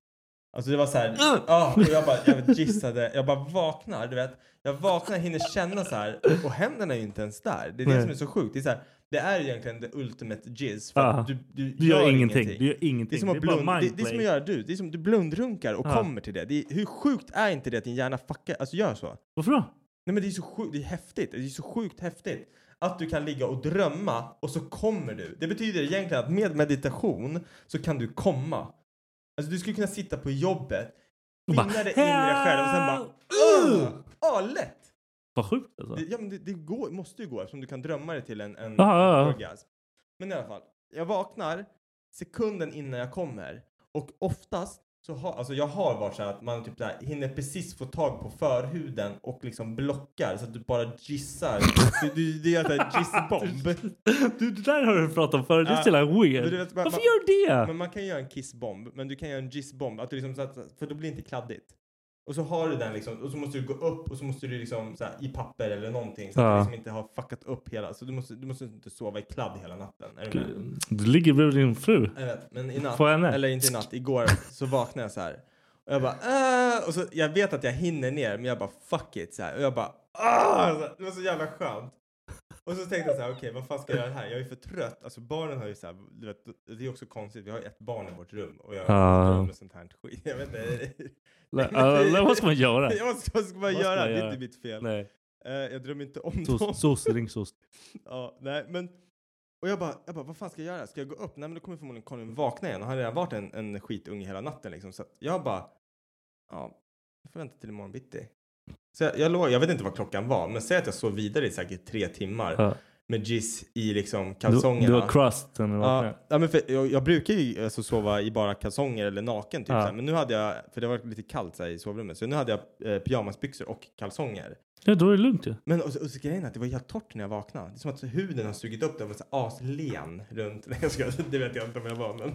S7: Alltså det var så här, ja, och jag bara jag gissade, jag bara vaknar, du vet. Jag vaknar, hinner känna så här och händerna är ju inte ens där. Det är det
S6: Nej.
S7: som är så sjukt. Det är så här, det är egentligen the ultimate jizz för
S6: Ja.
S7: att du, du,
S6: Ah. Du gör, ingenting. Du gör ingenting.
S7: Det är, som att
S6: bara Ah.
S7: blund, det, det är
S6: mindplay.
S7: som att göra du, det är som du blundrunkar och
S6: Ja.
S7: kommer till det. det är, hur sjukt är inte det att din hjärna fuckar, alltså gör så?
S6: Varför då?
S7: Nej men det är så sjukt, det är häftigt. Det är så sjukt häftigt att du kan ligga och drömma och så kommer du. Det betyder egentligen att med meditation så kan du komma. Alltså du skulle kunna sitta på jobbet,
S6: Och
S7: finna
S6: bara,
S7: det inre själv och sen bara
S6: "Help!"
S7: "Ugh! Ja, lätt!
S6: Vad sjukt alltså.
S7: Det, ja men det, det går, måste ju gå eftersom du kan drömma dig till en, en
S6: Ja, ja, ja.
S7: orgasm. Men i alla fall, jag vaknar sekunden innan jag kommer och oftast så har, alltså jag har varit så här att man typ så här, hinner precis få tag på förhuden och liksom blockar så att du bara gissar. du, du, det är en sån här gissbomb.
S6: Du, det där har du pratat om förut. Det är
S7: Ja.
S6: så jävla
S7: Men
S6: weird.
S7: du vet, man-
S6: Varför
S7: man-
S6: gör du det?
S7: Men man kan göra en kissbomb, men du kan göra en gissbomb. Att du liksom, så att- för då blir det inte kladdigt. Och så har du den liksom, och så måste du gå upp och så måste du liksom så här, i papper eller någonting så att du
S6: Ja.
S7: liksom inte har fuckat upp hela. Så du måste, du måste inte sova i kladd hela natten. Är du med?
S6: Du ligger bredvid din fru.
S7: Jag vet, men i natt,
S6: Får jag med?
S7: eller inte i natt, igår så vaknade jag så här. Och jag bara äh, och så jag vet att jag hinner ner men jag bara fuck it så här. Och jag bara ah, så här. det var så jävla skönt. Och så tänkte jag så här okej vad fan ska jag göra här? Jag är för trött. Alltså barnen har ju så här, du vet, det är också konstigt. Vi har ju ett barn i vårt rum och jag
S6: Ja.
S7: har med sånt här skit. Jag vet inte.
S6: Nej, alla- vad ska man göra?
S7: Jag, vad ska, vad ska man
S6: Vad ska
S7: göra?
S6: man
S7: Det är
S6: göra?
S7: inte mitt fel.
S6: Nej.
S7: Eh, jag drömmer inte om dem.
S6: Sos, sos, ring sos.
S7: Ja, nej, men... Och jag bara, jag bara, vad fan ska jag göra? Ska jag gå upp? Nej, men då kommer förmodligen Colin vakna igen. Och han har redan varit en, en skitunge hela natten liksom. Så att jag bara, ja, jag får vänta till imorgon bitti. Så jag, jag låg, jag vet inte vad klockan var, men säg att jag sov vidare i säkert tre timmar
S6: Ja.
S7: med giss i liksom
S6: Du,
S7: kalsongerna.
S6: du har crust när du
S7: Ja,
S6: vaknar.
S7: ja, men för jag, jag brukar ju alltså, sova i bara kalsonger eller naken typ.
S6: Ja.
S7: Så här. Men nu hade jag, för det var lite kallt så här, i sovrummet, så nu hade jag eh, pyjamasbyxor och kalsonger.
S6: Ja, då är det lugnt ju.
S7: Men och, så- och så grejen är att det var helt torrt när jag vaknade. Det är som att huden har sugit upp det och varit så här aslen runt. Nej, jag ska, det vet jag inte om jag var, men...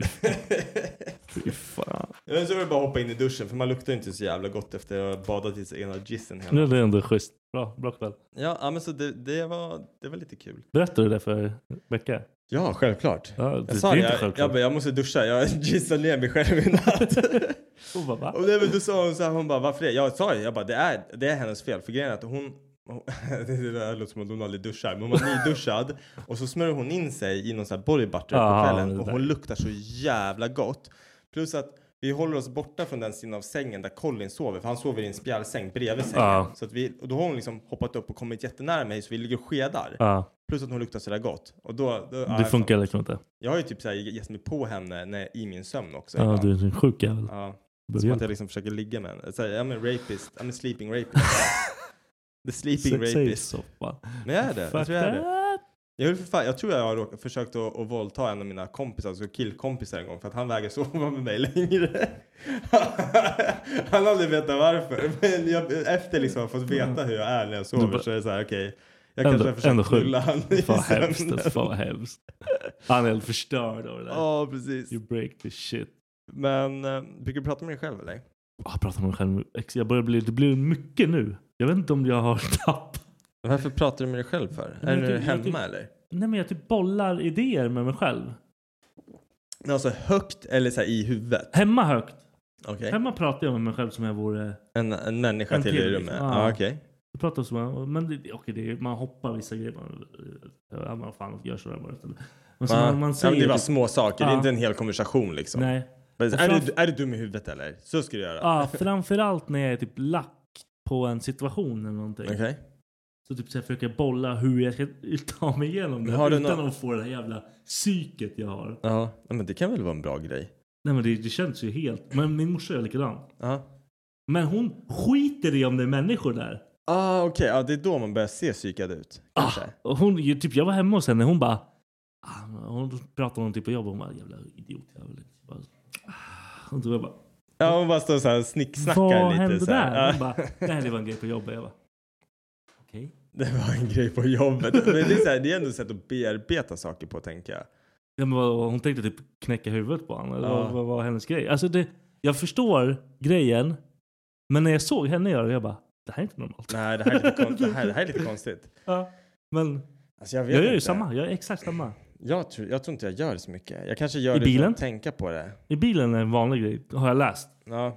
S6: Fy fan.
S7: men så var det bara att hoppa in i duschen, för man luktar ju inte så jävla gott efter att ha badat i sig ena gissen hela.
S6: Nu är det ändå schysst. Bra, bra kväll.
S7: Ja, ja, men så det, det, var, det var lite kul.
S6: Berättade du det för Becka?
S7: Ja, självklart.
S6: Ja, det,
S7: Jag
S6: det
S7: sa
S6: är
S7: det,
S6: inte
S7: jag, jag,
S6: självklart.
S7: bara, jag måste duscha. Jag gissade ner mig själv i natt.
S6: Hon bara, va?
S7: Och det, men då sa hon så här, hon bara varför det? Jag sa det, jag bara det är, det är hennes fel för grejen är att hon hon- det där låter som att hon aldrig duschar, men hon var nyduschad och så smörjer hon in sig i någon sån här body butter
S6: Ja,
S7: på kvällen
S6: det
S7: och
S6: där.
S7: hon luktar så jävla gott. Plus att vi håller oss borta från den sidan av sängen där Colin sover, för han sover i en spjälsäng bredvid sängen.
S6: Ja.
S7: Så att vi, och då har hon liksom hoppat upp och kommit jättenära mig så vi ligger och skedar.
S6: Ja,
S7: Plus att hon luktar så där gott. Och då, då, ja,
S6: det funkar liksom inte.
S7: Jag har ju typ så här gett mig på henne när, i min sömn också.
S6: Ja,
S7: ibland.
S6: du är en sjuk jävel.
S7: Ja.
S6: Behöver
S7: Som att
S6: hjälp.
S7: jag liksom försöker ligga med henne. Så här, I'm a rapist, I'm a sleeping rapist. The sleeping
S6: Säg- säg
S7: rapist.
S6: så, fan.
S7: Men jag är det. Jag
S6: Fuck
S7: tror jag är det.
S6: that.
S7: Jag, vill för fan, jag tror jag har råkat, försökt att, att våldta en av mina kompisar, alltså killkompisar en gång, för att han vägrar sova med mig längre. han har aldrig vetat varför. Men jag, efter liksom att ha fått veta hur jag är när jag sover
S6: Du bara-
S7: så är det så här, okej. jag
S6: Ändå-
S7: kanske har
S6: ändå
S7: försökt
S6: sjukt.
S7: knulla honom i
S6: Fan vad hemskt.
S7: sömnen.
S6: alltså, Fan vad hemskt. Han är helt förstörd av det där.
S7: Ja, precis.
S6: You break the shit.
S7: Men eh, brukar du prata med dig själv eller?
S6: Ah, Jag pratar med mig själv. Ex- Jag börjar bli, det blir mycket nu. Jag vet inte om jag har tappat.
S7: Varför pratar du med dig själv för?
S6: Men
S7: Är
S6: jag
S7: du
S6: tycker- jag
S7: hemma
S6: tycker-
S7: eller?
S6: Nej men jag typ bollar idéer med mig själv.
S7: Alltså högt eller så här i huvudet?
S6: Hemma högt.
S7: Okej.
S6: Hemma pratar jag med mig själv som jag vore...
S7: En, en människa
S6: En
S7: till,
S6: till,
S7: i rummet?
S6: liksom.
S7: Ja,
S6: Ja.
S7: okej.
S6: Jag pratar som man... Men det, okej, det är, man hoppar vissa grejer. Man, ja, man fan gör sådär bara. istället. Men så
S7: Ja.
S6: man, man säger...
S7: ja, men det är bara
S6: typ-
S7: små saker, det är
S6: Ja.
S7: inte en hel konversation liksom.
S6: Nej.
S7: Men,
S6: Och
S7: är, du,
S6: framför-
S7: är du dum i huvudet eller? Så ska du göra.
S6: Ja, framförallt när jag är typ lack på en situation eller någonting.
S7: Okej.
S6: Så typ så jag försöker bolla hur jag ska ta mig igenom det.
S7: Men har du
S6: utan
S7: nå-
S6: att få det här jävla psyket jag har.
S7: Ja, ja, men det kan väl vara en bra grej?
S6: Nej men det, det känns ju helt. Men min morsa är likadan.
S7: Ja.
S6: Men hon skiter i om det är människor där.
S7: Ah, okej. Ja, det är då man börjar se psykad ut.
S6: Ah.
S7: Kanske.
S6: Och hon, ju- typ, jag var hemma hos henne. Hon bara. Ah, hon pratade om någon typ på jobb. Hon bara jävla idiot. jävel." Bara, ah. Och då jag bara.
S7: Ja, hon bara står så här och snicksnackar
S6: Vad
S7: lite.
S6: hände
S7: så här.
S6: där?
S7: Ja.
S6: Hon bara. Nej det var en grej på jobbet. Jag bara. Okej.
S7: Det var en grej på jobbet. Men det är, så här, det är ändå ett sätt att bearbeta saker på, tänker jag.
S6: Ja, men vad, hon tänkte typ knäcka huvudet på honom. Eller
S7: Ja.
S6: vad, vad var hennes grej? Alltså det, jag förstår grejen. Men när jag såg henne göra det, jag bara. Det här är inte normalt.
S7: Nej, det här är lite, kon- det här, det här är lite konstigt.
S6: Ja, men
S7: Alltså, jag vet
S6: jag gör ju
S7: inte.
S6: samma. Jag är exakt samma.
S7: Jag tror, jag tror inte jag gör så mycket. Jag kanske gör
S6: I
S7: det för
S6: bilen?
S7: att tänka på det.
S6: I bilen är en vanlig grej, har jag läst.
S7: Ja.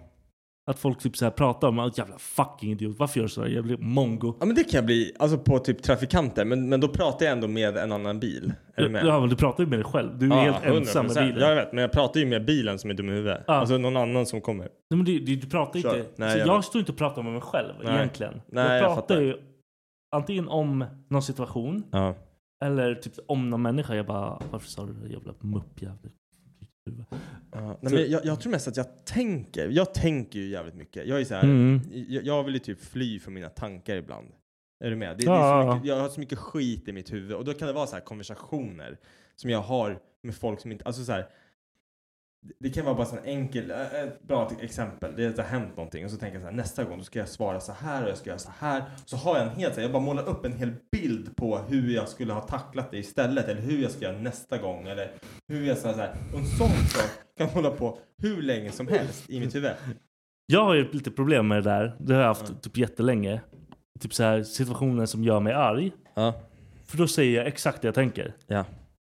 S6: Att folk typ så här pratar om att jävla fucking idiot. Varför gör du sådär? Jävla mongo.
S7: ja, men det kan jag bli. Alltså på typ trafikanter. Men, men då pratar jag ändå med en annan bil. Är du med?
S6: Ja, men du pratar ju med dig själv. Du är helt ensam med
S7: 100%.
S6: bilen.
S7: Jag vet, men jag pratar ju med bilen som är dum i huvudet.
S6: Ja.
S7: Alltså någon annan som kommer.
S6: Nej, men du, du, du pratar ju
S7: Kör.
S6: inte.
S7: Nej,
S6: så
S7: jag
S6: jag,
S7: vet.
S6: står inte och pratar med mig själv
S7: Nej.
S6: egentligen.
S7: Nej, jag
S6: jag pratar
S7: fattar.
S6: ju antingen om någon situation
S7: Ja.
S6: eller typ om någon människa. Jag bara, varför sa du det jävla muppjävel?
S7: Ja. Nej, men jag, jag tror mest att jag tänker. Jag tänker ju jävligt mycket. Jag är så här,
S6: Mm.
S7: jag, jag vill ju typ fly från mina tankar ibland. Är du med? Det, det är
S6: Ja,
S7: så
S6: ja,
S7: mycket, jag har så mycket skit i mitt huvud och då kan det vara så här konversationer som jag har med folk som inte, alltså så här. det- Det kan vara bara så en enkel, eh, ett bra till exempel, det är att det har hänt någonting och så tänker jag så här nästa gång då ska jag svara så här och jag ska göra så här. Så har jag en hel, så här, jag bara målar upp en hel bild på hur jag skulle ha tacklat det istället eller hur jag ska göra nästa gång eller hur jag ska så här. Och en sån sak kan jag hålla på hur länge som helst i mitt huvud.
S6: Jag har ju lite problem med det där. Det har jag haft typ jättelänge. Typ så här situationer som gör mig arg.
S7: Ja.
S6: För då säger jag exakt det jag tänker.
S7: Ja.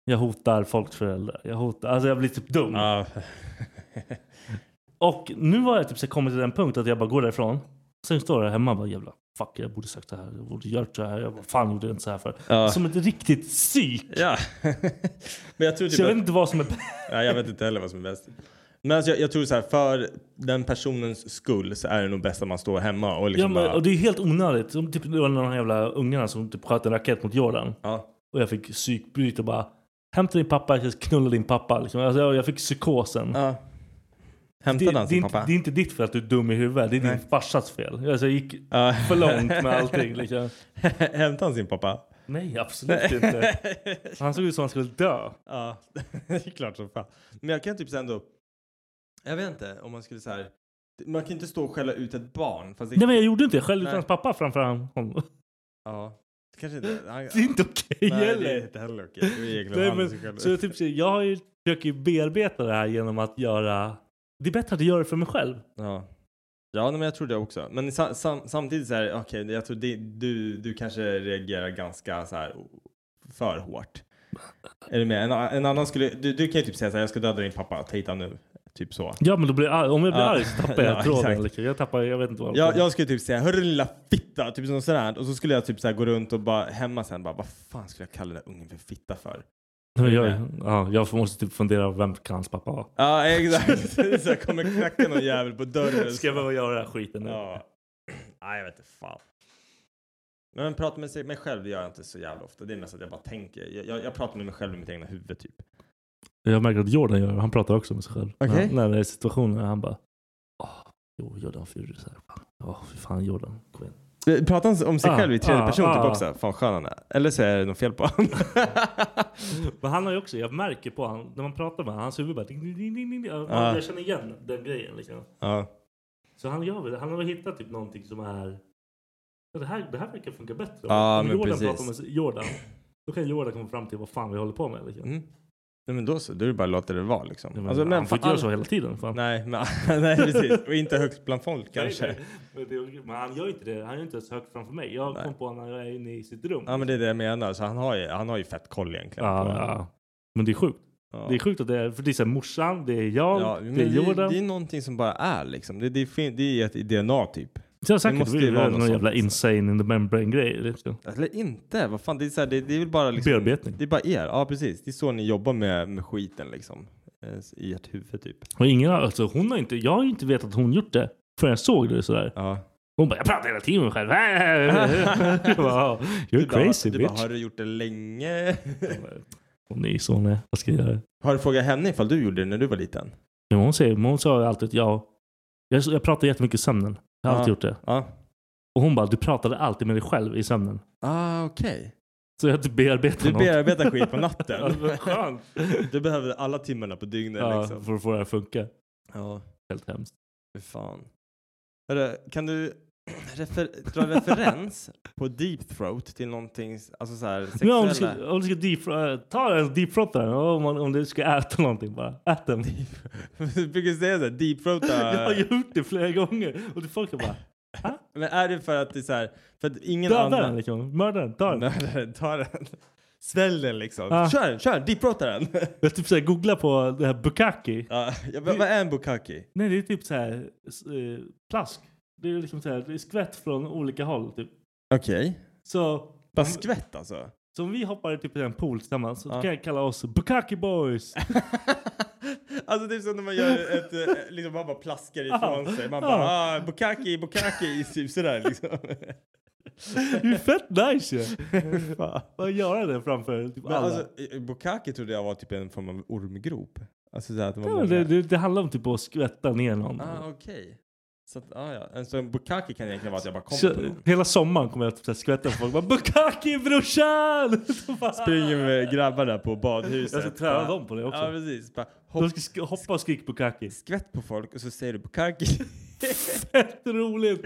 S6: Jag hotar folks föräldrar. Jag hotar, alltså jag blir typ dum.
S7: Ja.
S6: Och nu har jag typ så här kommit till den punkt att jag bara går därifrån. Sen står jag hemma och bara jävla fuck jag borde sagt det här. Jag borde gjort så här. Jag bara fan gjorde jag inte så här för.
S7: Ja.
S6: Som ett riktigt psyk.
S7: Ja. Men jag tror typ
S6: Så jag
S7: att-
S6: vet inte vad som är bäst.
S7: Nej, jag vet inte heller vad som är bäst. Men alltså, jag, jag tror så här, för den personens skull så är det nog bäst att man står hemma och
S6: Ja,
S7: liksom
S6: men,
S7: bara...
S6: och det är helt onödigt. Som typ det var de här jävla ungarna som typ sköt en raket mot Jordan.
S7: Ja.
S6: Och jag fick psykbryt och bara Hämta din pappa, jag ska knulla din pappa. Liksom. Alltså, jag, jag fick psykosen.
S7: ja.
S6: det,
S7: Hämtade han
S6: det, är
S7: sin
S6: inte,
S7: pappa?
S6: det är inte ditt fel att du är dum i huvudet. Det är
S7: Nej.
S6: din farsas fel. Alltså, jag gick
S7: Ja.
S6: för långt med allting. Liksom.
S7: Hämtade han sin pappa?
S6: Nej, absolut inte. Han såg ut som han skulle dö.
S7: Ja, det är klart som fan. Men jag kan typ så ändå... Jag vet inte om man skulle så här... Man kan inte stå och skälla ut ett barn. Fast det...
S6: Nej men jag gjorde inte det själv
S7: Nej.
S6: utan hans pappa framför honom.
S7: Ja. Det Kanske inte... Han...
S6: Det är inte okej
S7: Nej, det är
S6: heller.
S7: inte heller okej. Det är egentligen
S6: Nej,
S7: han som
S6: men,
S7: skäller
S6: så jag,
S7: ut.
S6: typ, säger, jag har ju- försöker ju bearbeta det här genom att göra... Det är bättre att jag gör det för mig själv.
S7: Ja. Ja, nej, men jag tror det också. Men sa, sam, samtidigt så här, okej, jag tror det, du, du kanske reagerar ganska så här o- för hårt. Är du med? En, a- en annan skulle, du, du kan ju typ säga så här, jag ska döda din pappa, ta hit han nu. Typ så.
S6: Ja men då blir jag arg. om jag blir
S7: Ja.
S6: arg så tappar jag
S7: Ja, exakt.
S6: tråden. Liksom. Jag tappar, jag vet inte vad.
S7: Jag, jag skulle typ säga, hörru lilla fitta, typ som sådär. Och så skulle jag typ så här gå runt och bara hemma sen bara, vad fan skulle jag kalla den där ungen för fitta för?
S6: Nej, jag, ja, jag måste typ fundera vem kan hans pappa vara.
S7: Ja, exakt. så jag kommer knacka någon jävel på dörren.
S6: Ska jag behöva göra den här skiten nu?
S7: Ja. Nej, jag vet inte fan. Men prata med sig, mig själv det gör jag inte så jävla ofta. Det är mest att jag bara tänker. Jag, jag, jag pratar med mig själv i mitt egna huvud typ.
S6: Jag märker att Jordan gör det. Han pratar också med sig själv.
S7: Okej.
S6: När, när det är situationer. Han bara... Åh, jo, Jordan Furus. här. Fan. Åh, fy fan Jordan. Kom igen.
S7: Eh, Pratar han om sig
S6: Ah,
S7: själv i tredje
S6: ah,
S7: person typ
S6: ah.
S7: också? Fan skön han är. Eller så är det något fel på honom.
S6: Men han har ju också, jag märker på han när man pratar med honom, hans huvud bara ding, ding, ding, ding, ding. Jag,
S7: Ja.
S6: jag känner igen den grejen liksom.
S7: ja.
S6: Så han gör väl, han har väl hittat typ någonting som är, ja, det här, det här verkar funka bättre.
S7: Ja,
S6: Om
S7: men
S6: Jordan
S7: precis.
S6: pratar med Jordan, då kan Jordan komma fram till vad fan vi håller på med liksom.
S7: Mm. Nej men då så, då är det bara att låta det vara liksom.
S6: Ja, men,
S7: Alltså, men
S6: han får inte
S7: fan-
S6: göra så hela tiden. Fan.
S7: Nej, men, nej precis. Och inte högt bland folk kanske.
S6: Nej, nej. Men, det, men han gör ju inte det, han gör inte ens högt framför mig. Jag
S7: Nej.
S6: kom på när jag är inne i sitt rum.
S7: Ja men det är det jag menar. Så han har ju, han har ju fett koll egentligen.
S6: Ah, ja,
S7: på-
S6: ja. men det är sjukt. Det är sjukt att det är, för det är så här, morsan, det är jag,
S7: Ja, men
S6: det är
S7: det,
S6: Jordan.
S7: det är någonting som bara är liksom. Det, det, fin- det är ett i DNA typ.
S6: så jag har sagt
S7: det
S6: att
S7: måste
S6: det
S7: ju vara
S6: är
S7: något
S6: någon
S7: sånt,
S6: jävla insane in the membrane grej. Liksom.
S7: Eller inte, vad fan. Det är, så här, det, det är väl bara liksom,
S6: Bearbetning.
S7: Det är bara er. Ja, precis. Det är så ni jobbar med, med skiten liksom. Eh, I ert huvud typ.
S6: Och ingen har, alltså, hon har inte, jag har ju inte vetat att hon gjort det förrän jag såg det sådär.
S7: Ja.
S6: Hon bara, jag pratar hela tiden med mig själv. Jag bara, "Ja, You're
S7: du bara,
S6: crazy
S7: du Bara,
S6: bitch.
S7: har du gjort det länge?
S6: Hon är ju så hon är. Vad ska jag göra?
S7: har du frågat henne ifall du gjorde det när du var liten?
S6: Men hon, säger, men hon sa ju alltid att jag, jag, jag pratar jättemycket i sömnen. Jag har
S7: Ja.
S6: alltid gjort det.
S7: Ja.
S6: Och hon bara, du pratade alltid med dig själv i sömnen.
S7: Ah, okej.
S6: Så jag typ bearbetar
S7: Du
S6: något.
S7: bearbetar skit på
S6: Ja,
S7: natten.
S6: vad skönt.
S7: Du behöver alla timmarna på dygnet
S6: Ja,
S7: liksom.
S6: för att få det här att funka.
S7: Ja,
S6: Helt hemskt.
S7: fy fan. Hörru, kan du refer- dra referens på deep throat till någonting, s- alltså så här
S6: Men om
S7: sexuella?
S6: du ska, om du ska deep, äh, ta en deepfrotta den. Om, man- om du ska äta någonting bara. Ät den.
S7: du brukar säga såhär, deep throat
S6: Jag har gjort det flera gånger. Och folk är bara,
S7: Men är det för att det är så här, för att ingen
S6: döda den
S7: annan...
S6: liksom. Mörda den. Ta den.
S7: Nej, nej, Ta den. Svälj den liksom.
S6: Ja.
S7: Kör den, kör den, deep throata den.
S6: Jag typ såhär googlar på det här bukkake.
S7: ja, jag bara, vad är en bukkake?
S6: Nej det är typ såhär s- eh, plask. Det är liksom såhär, det är skvätt från olika håll typ.
S7: Okej.
S6: Så
S7: Bara skvätt alltså.
S6: som vi hoppar i typ i en pool tillsammans så
S7: Ja.
S6: kan jag kalla oss bukkake boys.
S7: Alltså det är som när man gör ett, eh, liksom man bara plaskar ifrån sig. Man
S6: Ja.
S7: bara ah, bukaki, bukaki, typ sådär liksom.
S6: Det är ju fett nice ju. Bara göra det framför typ
S7: Men
S6: alla.
S7: alltså, eh, bukaki trodde jag var typ en form av ormgrop. Alltså såhär att det var
S6: Ja,
S7: många.
S6: men det, det, det handlar om typ att skvätta ner någon.
S7: Ah, okej. Så att, ah, ja. En sån bukaki kan egentligen vara att jag bara kommer
S6: Så,
S7: på någon.
S6: hela sommaren kommer jag typ så här skvätta på folk. Bara, Bukaki brorsan! Så bara-
S7: Springer med grabbar där på badhuset.
S6: Jag ska träna
S7: Bara-
S6: dem på det också.
S7: Ja precis. Bara, hopp,
S6: De ska sk- hoppa och skrika Bukaki.
S7: Skvätt på folk och så säger du bukaki.
S6: Fett roligt!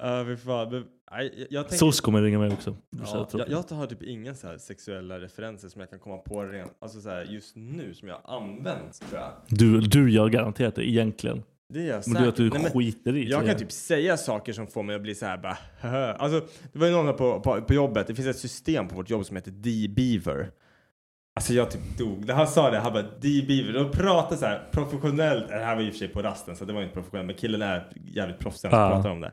S7: Ja fy fan. Men, nej, jag, jag tänker-
S6: SOS kommer ringa mig också. Så
S7: Ja,
S6: jag tror-
S7: jag, jag har typ inga så här sexuella referenser som jag kan komma på rent, alltså så här just nu som jag använt tror jag.
S6: Du, du gör garanterat det egentligen.
S7: Det är jag
S6: Men det är att du
S7: säker- Nej, men
S6: skiter i.
S7: Jag
S6: tror
S7: kan typ säga saker som får mig att bli så här bara "Haha." Alltså det var ju någon här på, på, på jobbet, det finns ett system på vårt jobb som heter D-Beaver. Alltså jag typ dog. När han sa det, han bara D-Beaver. De pratar så här professionellt. Det här var i och för sig på rasten så det var inte professionellt. Men killen är jävligt proffsig när han
S6: Ja.
S7: pratar om det.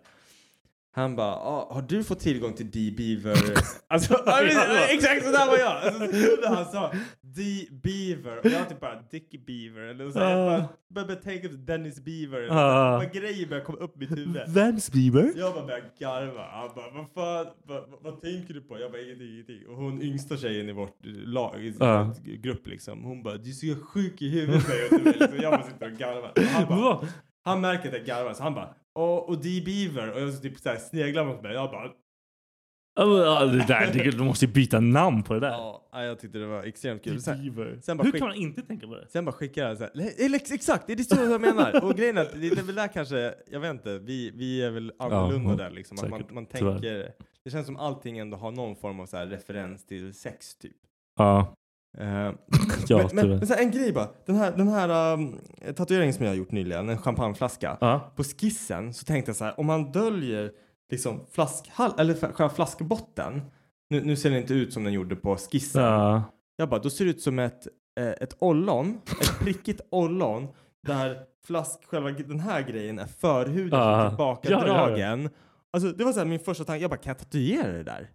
S7: Han bara, ah, har du fått tillgång till D-Beaver? alltså, ja, precis, exakt så där var jag! Alltså, så kunde han sa D-Beaver och jag typ bara Dicky Beaver eller så. här. Jag bara började tänka på Dennis Beaver. Eller så här.
S6: Ah.
S7: Bara grejer började komma upp i mitt huvud.
S6: Vans Bieber?
S7: Jag bara började garva. Han bara, vad fan, vad, vad, vad tänker du på? Jag bara, ingenting, ingenting. Och hon yngsta tjejen i vårt lag, i
S6: Ja.
S7: vår grupp liksom. Hon bara, du är så sjuk i huvudet säger hon till mig. Liksom. Jag bara sitter och garvar. Och Han, bara,
S6: Vad?
S7: han märker att jag garvar så han bara, och, och D. Beaver. Och jag så typ så här sneglar mot mig. Jag bara,
S6: Ja, men, ja, det där, det, du måste ju byta namn på det där.
S7: ja, jag tyckte det var extremt kul. Så här-
S6: Bieber.
S7: sen bara
S6: Hur
S7: skick-
S6: kan man inte tänka på det?
S7: Sen bara skickar han så här, "Nej, eller ex- exakt, det är det så jag menar. Och grejen är att det är väl där kanske, jag vet inte, vi, vi är väl annorlunda
S6: ja, mm,
S7: där liksom. Att man,
S6: säkert,
S7: man
S6: tyvärr.
S7: tänker, det känns som allting ändå har någon form av så här referens till sex typ.
S6: Ja,
S7: Eh,
S6: ja
S7: men men,
S6: tyvärr.
S7: men så här, en grej bara, den här, den här um, tatueringen som jag har gjort nyligen, en champagneflaska.
S6: Ja.
S7: På skissen så tänkte jag så här, om man döljer liksom flaskhall, eller f- själva flaskbotten. Nu, nu ser den inte ut som den gjorde på skissen.
S6: Ja.
S7: Jag bara, då ser det ut som ett, eh, ett ollon, ett prickigt ollon där flask, själva g- den här grejen är förhuden som
S6: Ah.
S7: är tillbakadragen. Alltså det var så här min första tanke, jag bara kan jag tatuera det där?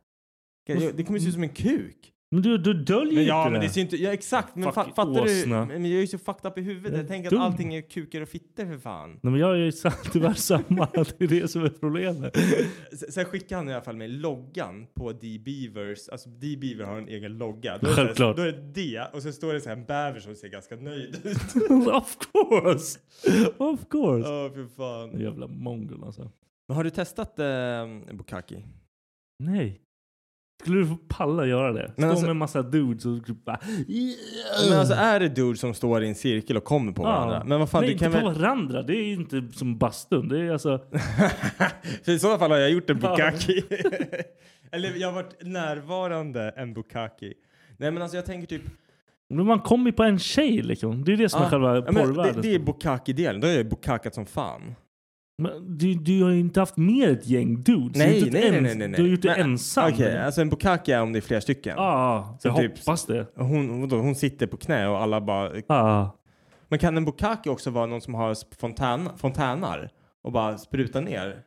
S7: Kan jag- Det kommer se ut som en kuk.
S6: Men du, du döljer
S7: Men
S6: ju
S7: ja
S6: inte
S7: men
S6: det.
S7: det ser ju inte, ja exakt men
S6: Fuck
S7: fa, fattar du?
S6: åsna.
S7: Men jag är ju så fucked up i huvudet,
S6: Jag är
S7: jag tänker
S6: dum.
S7: att allting är kukar och fitter för fan.
S6: Nej, men jag är ju sa- tyvärr samma. Det är det som är problemet.
S7: S- Sen skickade han i alla fall mig loggan på D-Beavers, alltså D-Beaver har en egen logga. Då är, det, så här-
S6: Självklart.
S7: då är det D och så står det så här en bäver som ser ganska nöjd ut.
S6: of course! Of course!
S7: Åh för fan.
S6: Jävla mongol alltså.
S7: Men har du testat eh, Bukaki?
S6: Nej. Skulle du få palla göra det? Stå
S7: alltså-
S6: med en massa dudes och typ bara...
S7: Men alltså är det dude som står i en cirkel och kommer på varandra? Men vad fan,
S6: Nej,
S7: du kan
S6: inte
S7: väl...
S6: på varandra. Det är inte som bastun. Det är alltså...
S7: För i sådana fall har jag gjort en Bukaki. Eller jag har varit närvarande en Bukaki. Nej men alltså jag tänker typ...
S6: Men man kommer ju på en tjej liksom. Det är det som är
S7: Ah,
S6: själva
S7: ja, men
S6: porrvärlden. typ.
S7: det, det är Bukaki-delen, då har jag ju bukakat som fan.
S6: Men du, du har ju inte haft med ett gäng dudes. Du har
S7: Nej,
S6: gjort ett
S7: nej, nej,
S6: ens-
S7: nej, nej, nej.
S6: Du har gjort det
S7: Men, äh,
S6: ensam.
S7: Okej, alltså en bukkake är om det är flera stycken.
S6: Ja,
S7: Så
S6: jag
S7: typ-
S6: hoppas det. Ah.
S7: Hon, vadå, hon sitter på knä och alla bara...
S6: Ja.
S7: Men kan en bukkake också vara någon som har sp- fontän, fontänar och bara sprutar ner?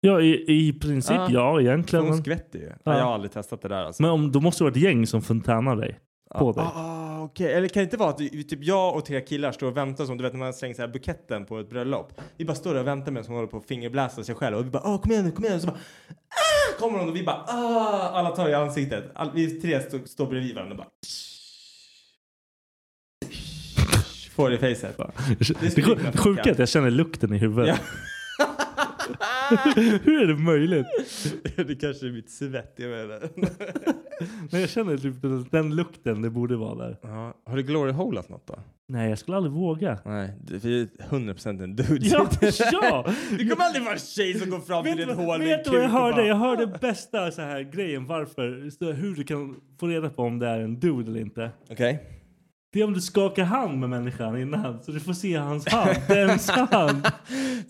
S6: Ja, i, i princip
S7: Ja.
S6: ja
S7: För
S6: egentligen.
S7: hon
S6: Men,
S7: skvätter ju. Ja.
S6: Ja.
S7: Jag har aldrig testat det där alltså.
S6: men om, då måste det vara ett gäng som fontänar dig. På dig.
S7: Ah, okej. Eller kan det inte vara att vi- typ jag och tre killar står och väntar som du vet när man slänger så här buketten på ett bröllop. Vi bara står där och väntar medan hon håller på att fingerblästa sig själv och vi bara ah, kom igen nu, kom igen. Och så bara ah, kommer hon och vi bara ah, alla tar i ansiktet. All, vi tre stå, står bredvid varandra och bara får det i facet.
S6: Det,
S7: skulle kunna
S6: sjuka
S7: funka.
S6: sjuka är att jag känner lukten i huvudet. Hur är det möjligt?
S7: det kanske är mitt svett, jag menar.
S6: Men jag känner typ den, den lukten det borde vara där.
S7: ja, har du gloryholat något då?
S6: Nej, jag skulle aldrig våga.
S7: Nej, det- vi är 100% en dude.
S6: Ja, ja!
S7: Det kommer aldrig vara en tjej som går fram
S6: Vet
S7: till
S6: du
S7: ett
S6: vad-
S7: hål
S6: vet
S7: med
S6: du vad
S7: en
S6: jag
S7: kuk och
S6: hörde?
S7: bara-
S6: Jag hörde bästa så här grejen varför. Så hur du kan få reda på om det är en dude eller inte.
S7: Okej.
S6: Det är om du skakar hand med människan innan. Så du får se hans hand. Dens hand.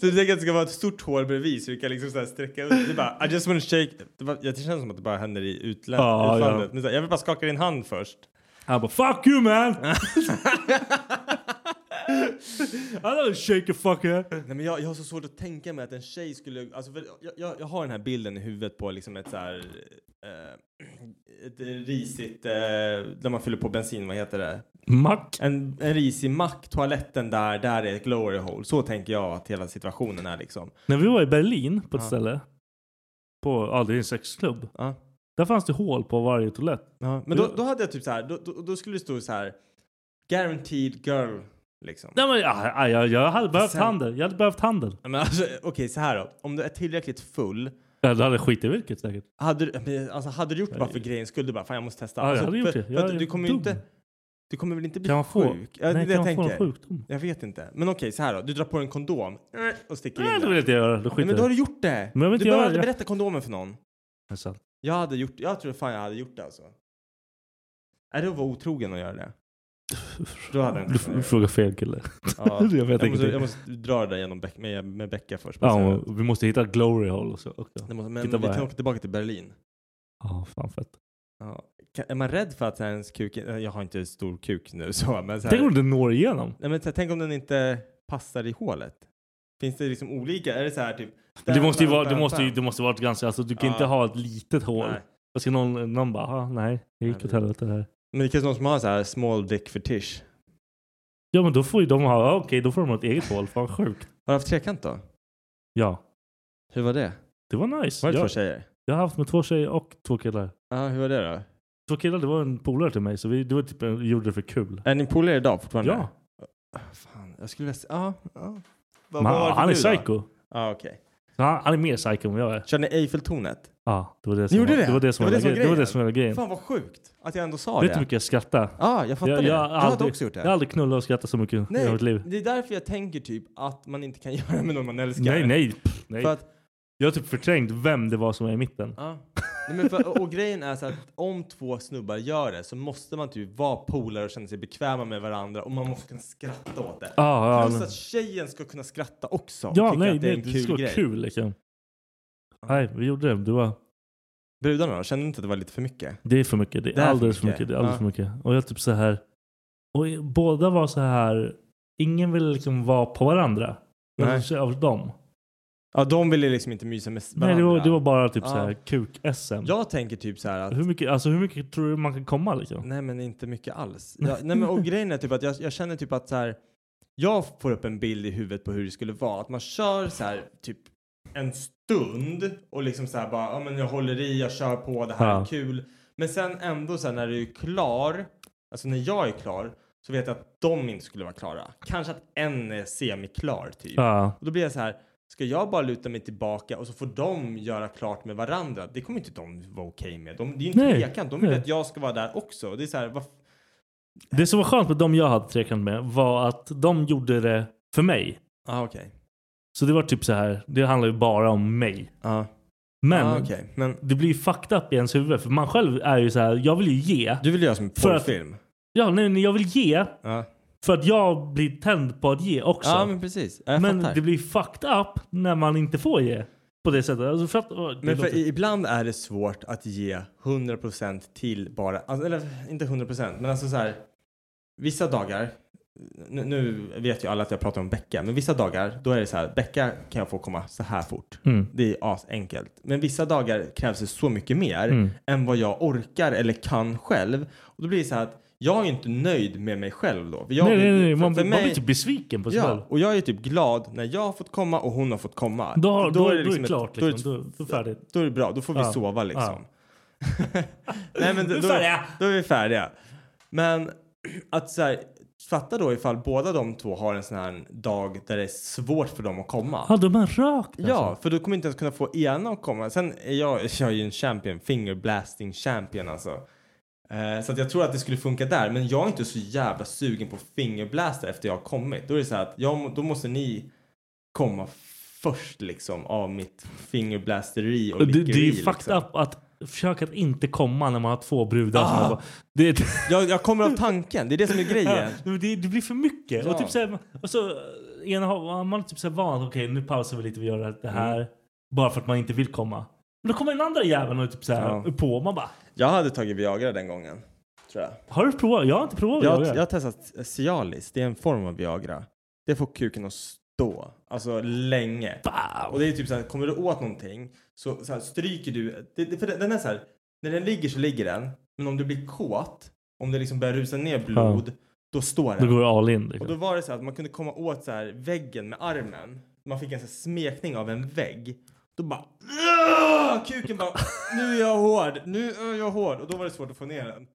S7: Så du tänker att det ska vara ett stort hål bredvid så du kan liksom så här sträcka ut. Det är bara, I just wanna shake. Det, var, jag- det känns som att det bara händer i utlän-
S6: Ja,
S7: utlandet.
S6: ja.
S7: Men så här, jag vill bara skaka din hand först.
S6: Han bara fuck you man! I don't shake a fucker.
S7: Nej men jag, jag har så svårt att tänka mig att en tjej skulle, alltså för jag, jag, jag har den här bilden i huvudet på liksom ett så här, eh, ett risigt, eh, där man fyller på bensin, vad heter det?
S6: Mack.
S7: En, en risig mack, toaletten där, där är ett glory hole. Så tänker jag att hela situationen är liksom.
S6: När vi var i Berlin på ett
S7: Ja.
S6: ställe. På, ja det är en sexklubb.
S7: Ja.
S6: Där fanns det hål på varje toalett.
S7: Ja, men då, då hade jag typ så här, då, då, då skulle det stå så här, guaranteed girl, liksom.
S6: Nej, men, ja, ja, jag, jag hade behövt
S7: Sen-
S6: handel. Jag hade behövt handel.
S7: Ja, Men alltså, okej, så här då. Om du är tillräckligt full,
S6: Jag hade skit i vilket säkert.
S7: hade du, men alltså, hade du gjort det bara för grejen skull? Du bara, fan jag måste testa.
S6: Ja, jag
S7: alltså,
S6: hade
S7: för,
S6: gjort det.
S7: för
S6: Jag
S7: att
S6: är
S7: du kommer ju
S6: dum.
S7: inte, du kommer väl inte bli
S6: Kan man få,
S7: sjuk? Ja, det är
S6: nej,
S7: det
S6: kan man
S7: jag
S6: få en
S7: tänker.
S6: sjukdom?
S7: Jag vet inte. Men okej, så här då. Du drar på en kondom eh, och sticker
S6: Nej,
S7: in
S6: det
S7: den.
S6: vill inte jag göra. Då
S7: Nej,
S6: skiter
S7: men då
S6: jag
S7: har du
S6: i
S7: gjort det.
S6: Men jag vill inte
S7: du behöver
S6: göra
S7: aldrig
S6: det.
S7: berätta kondomen för någon.
S6: det. Sen.
S7: Jag hade gjort Jag tror fan jag hade gjort det alltså. Är det att vara otrogen att göra det? Då hade jag inte
S6: Du,
S7: kunnat
S6: du
S7: göra det.
S6: frågar fel kille.
S7: Ja.
S6: jag vet
S7: jag, måste,
S6: ingenting.
S7: jag måste dra det där genom Beck, med, med Becka först.
S6: Ja, och vi måste hitta glory hole också. också.
S7: Det måste, men
S6: Titta
S7: vi
S6: bara
S7: kan
S6: här.
S7: åka tillbaka till Berlin.
S6: Ja, fan fett.
S7: Ja. Kan- Är man rädd för att ens kuk... eh, Jag har inte stor kuk nu så, men, så här,
S6: Tänk om det når igenom.
S7: nej, men så här, tänk om den inte passar i hålet? Finns det liksom olika? Är det så här typ...
S6: Det måste ju vara, det måste ju, det måste vara ett ganska, alltså du kan
S7: Ja.
S6: inte ha ett litet hål.
S7: Nej.
S6: Och så någon, någon bara, "Ah, nej, det gick
S7: Nej,
S6: åt
S7: det-
S6: helvete det här.
S7: Men det kanske någon som har så här small dick fetish.
S6: Ja men då får ju de ha, ja, okej då får de ha ett eget hål. Fan sjukt.
S7: Har du haft trekant då?
S6: Ja,
S7: Hur var det?
S6: det var nice.
S7: Var det två
S6: jag,
S7: tjejer?
S6: jag har haft med två tjejer och två killar.
S7: Ja, hur var det då?
S6: Två killar, det var en polare till mig så vi det var typ, vi gjorde det för kul.
S7: Är ni polare idag fortfarande? Ah,
S6: Ja.
S7: Fan, jag skulle vilja... se- Ja, ja. Vad
S6: Men,
S7: vad var
S6: han,
S7: det för
S6: han är
S7: nu då?
S6: psycho.
S7: Ja, okej.
S6: Så Han, han är mer psycho än vad jag är.
S7: Körde ni Eiffeltornet?
S6: Ja, det var det som
S7: gjorde
S6: var,
S7: det?
S6: det var det som var grejen. Det var det som var grejen.
S7: Fan vad sjukt att jag ändå sa
S6: Vet du
S7: det.
S6: hur mycket jag skrattar?
S7: Ja, jag fattar
S6: Jag-
S7: det.
S6: jag har
S7: du hade
S6: aldrig-
S7: också gjort det.
S6: Jag har aldrig knullat och skrattat så mycket i hela mitt
S7: nej,
S6: liv.
S7: det är därför jag tänker typ att man inte kan göra med någon man älskar.
S6: Nej, nej. pff, nej.
S7: För att,
S6: Jag har typ förträngt vem det var som var i mitten.
S7: ja. nej men för, och, och grejen är så att om två snubbar gör det så måste man typ vara polare och känna sig bekväma med varandra och man måste kunna skratta åt det.
S6: Ah, ja,
S7: Plus
S6: men-
S7: att tjejen ska kunna skratta också. och
S6: ja
S7: tycka
S6: nej,
S7: att det är
S6: nej,
S7: en
S6: det
S7: kul
S6: skulle vara
S7: grej.
S6: kul liksom. Nej, vi gjorde det. Det, var,
S7: Brudarna då? Kände ni inte att det var lite för mycket?
S6: det är för mycket. Det är,
S7: Det är för
S6: alldeles för
S7: mycket.
S6: mycket. Det är alldeles
S7: Ja.
S6: för mycket. Och jag typ så här. Och i- båda var så här. Ingen ville liksom vara på varandra.
S7: Nej.
S6: Alltså, Av dem.
S7: Ja, de ville liksom inte mysa med varandra.
S6: Nej, det var, det var bara typ
S7: Ja.
S6: så här kuk-SM.
S7: Jag tänker typ så här att
S6: Hur, mycket, alltså, hur mycket tror du man kan komma liksom?
S7: Nej men inte mycket alls. Jag, nej, men, och grejen är typ att jag, jag känner typ att så här, jag får upp en bild i huvudet på hur det skulle vara. Att man kör så här typ en stund och liksom så här bara, ja men jag håller i, jag kör på, det här
S6: Ja.
S7: är kul. Men sen ändå så här när du är klar, alltså när jag är klar, så vet jag att de inte skulle vara klara. Kanske att en är semiklar typ.
S6: Ja.
S7: Och då blir jag så här, ska jag bara luta mig tillbaka och så får de göra klart med varandra? Det kommer inte de vara okej med. De, det är ju inte
S6: Nej,
S7: tvekan. De vill
S6: nej.
S7: att jag ska vara där också. Det är så här, vad,
S6: Det som var skönt med de jag hade trekant med var att de gjorde det för mig.
S7: ah, okej.
S6: Så det var typ så här. Det handlar ju bara om mig.
S7: Ja,
S6: Men
S7: ah, okej. Men
S6: det blir ju fucked up i ens huvud. För man själv är ju så här. Jag vill ju ge.
S7: du vill göra som en
S6: För att-
S7: porrfilm?
S6: Ja, nej, nej, jag vill ge.
S7: Ja.
S6: För att jag blir tänd på att ge också.
S7: Ja, men precis. Jag
S6: men
S7: fattar.
S6: det blir fucked up när man inte får ge. På det sättet. Alltså för att, åh, det
S7: Men för
S6: låter-
S7: ibland är det svårt att ge 100% till bara, alltså, eller inte 100% men alltså så här, vissa dagar, nu, nu vet ju alla att jag pratar om Becka, men vissa dagar då är det så här, Becka kan jag få komma så här fort.
S6: Mm.
S7: Det är asenkelt. Men vissa dagar krävs det så mycket mer
S6: Mm.
S7: än vad jag orkar eller kan själv. Och då blir det så här att jag är inte nöjd med mig själv då. För Jag
S6: nej,
S7: blir-
S6: nej, nej.
S7: för-
S6: Man,
S7: för
S6: blir- man
S7: mig-
S6: blir typ besviken på sig själv.
S7: Ja, och jag är typ glad när jag har fått komma och hon har fått komma.
S6: Då, har- då, då, är det
S7: liksom ett-
S6: klart.
S7: då är det
S6: Liksom. Då, då är det färdigt.
S7: då är det bra, då får vi
S6: Ja.
S7: sova liksom. Nej, men
S6: Nu är
S7: då,
S6: vi
S7: då,
S6: färdiga.
S7: då är vi färdiga. Men att så här, fatta då ifall båda de två har en sån här dag där det är svårt för dem att komma.
S6: Ja, de har
S7: liksom.
S6: rökt alltså.
S7: Ja, för du kommer inte ens kunna få ena att komma. Sen är jag, jag är ju en champion, fingerblasting champion alltså. Eh, så att jag tror att det skulle funka där, men jag är inte så jävla sugen på fingerblasta efter jag har kommit. Då är det så här att jag, må- då måste ni komma först liksom av mitt fingerblasteri och
S6: Och det, det är ju
S7: lickeri,
S6: fucked
S7: liksom.
S6: up att försöka att inte komma när man har två brudar. som
S7: Ah.
S6: har bara- Det, det,
S7: Jag, jag kommer av tanken, det är det som är grejen.
S6: det, det blir för mycket.
S7: Ja.
S6: Och, typ så här, och så eh, ena har man är typ så här van att okej nu pausar vi lite och gör det här.
S7: Mm.
S6: Bara för att man inte vill komma. Men då kommer den andra jäveln och är typ så här
S7: Ja.
S6: på. Man bara
S7: Jag hade tagit Viagra den gången, tror jag.
S6: har du provat? Jag har inte provat
S7: Jag,
S6: Viagra.
S7: jag har testat Cialis, det är en form av Viagra. Det får kuken att stå, alltså länge.
S6: Wow.
S7: Och det är typ så här, kommer du åt någonting så, så här, stryker du, det, det, för den är så här, när den ligger så ligger den, men om du blir kåt, om det liksom börjar rusa ner blod, då står
S6: Då
S7: den.
S6: går det all in.
S7: Och
S6: Liksom.
S7: då var det så att man kunde komma åt så här väggen med armen. Man fick en så här smekning av en vägg. Då bara... "Åh!" Kuken bara... Nu är jag hård! Nu är jag hård! Och då var det svårt att få ner den.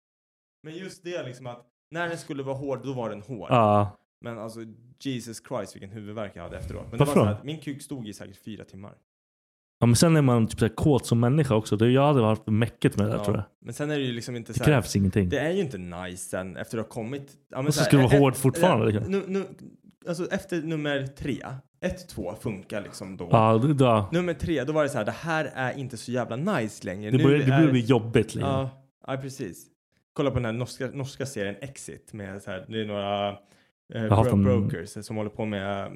S7: Men just det liksom att när den skulle vara hård, då var den hård.
S6: Ja.
S7: Men alltså Jesus Christ vilken huvudvärk jag hade efteråt. Men
S6: Varför
S7: det var
S6: då?
S7: så här, att min kuk stod i säkert fyra timmar.
S6: ja, men sen är man typ så här kåt som människa också. Det, jag hade varit mäcket med det där tror jag.
S7: Men sen är det ju liksom inte
S6: Det
S7: så här...
S6: krävs ingenting.
S7: Det är ju inte nice sen efter att ha kommit. Ja, men
S6: Och så
S7: här,
S6: ska du vara
S7: eh,
S6: hård
S7: eh,
S6: fortfarande,
S7: eh,
S6: liksom.
S7: Nu, nu, alltså efter nummer tre. Ett, två funkar liksom då.
S6: Ja, det, det,
S7: Nummer tre, då var det så här, det här är inte så jävla nice längre.
S6: det,
S7: Nu
S6: börjar, det börjar
S7: är-
S6: bli jobbigt. Liksom.
S7: Ja, ja, precis. Kolla på den här norska, norska serien Exit med så här, det är några eh,
S6: hatar
S7: bro-
S6: den.
S7: brokers som håller på med, eh,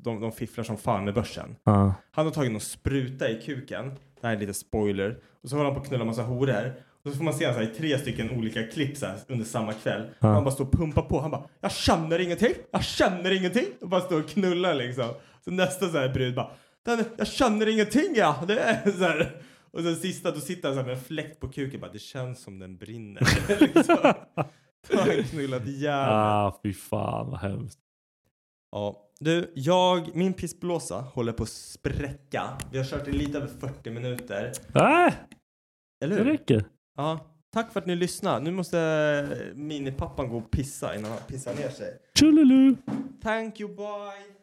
S7: de, de fifflar som fan med börsen.
S6: Ja.
S7: Han har tagit någon spruta i kuken. Det här är lite spoiler. Och så håller han på att knulla massa horor. Och så får man se honom så här i tre stycken olika klipp så här under samma kväll. Och han bara står och pumpar på. Han bara “Jag känner ingenting! Jag känner ingenting!” och bara står och knullar liksom. Så nästa så här brud bara den, “Jag känner ingenting ja!” det är så här. Och sen sista då sitter han så här med en fläkt på kuken bara “Det känns som den brinner” liksom. Då har han knullat ihjäl
S6: Ah, fy fan vad hemskt.
S7: Ja. Du, jag, min pissblåsa håller på att spräcka. Vi har kört i lite över 40 minuter.
S6: Äh,
S7: Eller
S6: det
S7: hur?
S6: räcker.
S7: Ja. Tack för att ni lyssnade. Nu måste eh, minipappan gå och pissa innan han pissar ner sig.
S6: Tjolilu!
S7: Thank you, bye!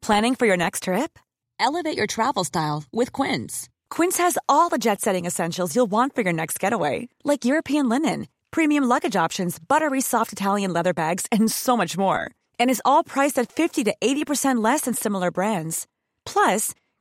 S2: Planning for your next trip? Elevate your travel style with Quince. Quince has all the jet setting essentials you'll want for your next getaway, like European linen, premium luggage options, buttery soft Italian leather bags, and so much more. And is all priced at 50 to 80% less than similar brands. Plus,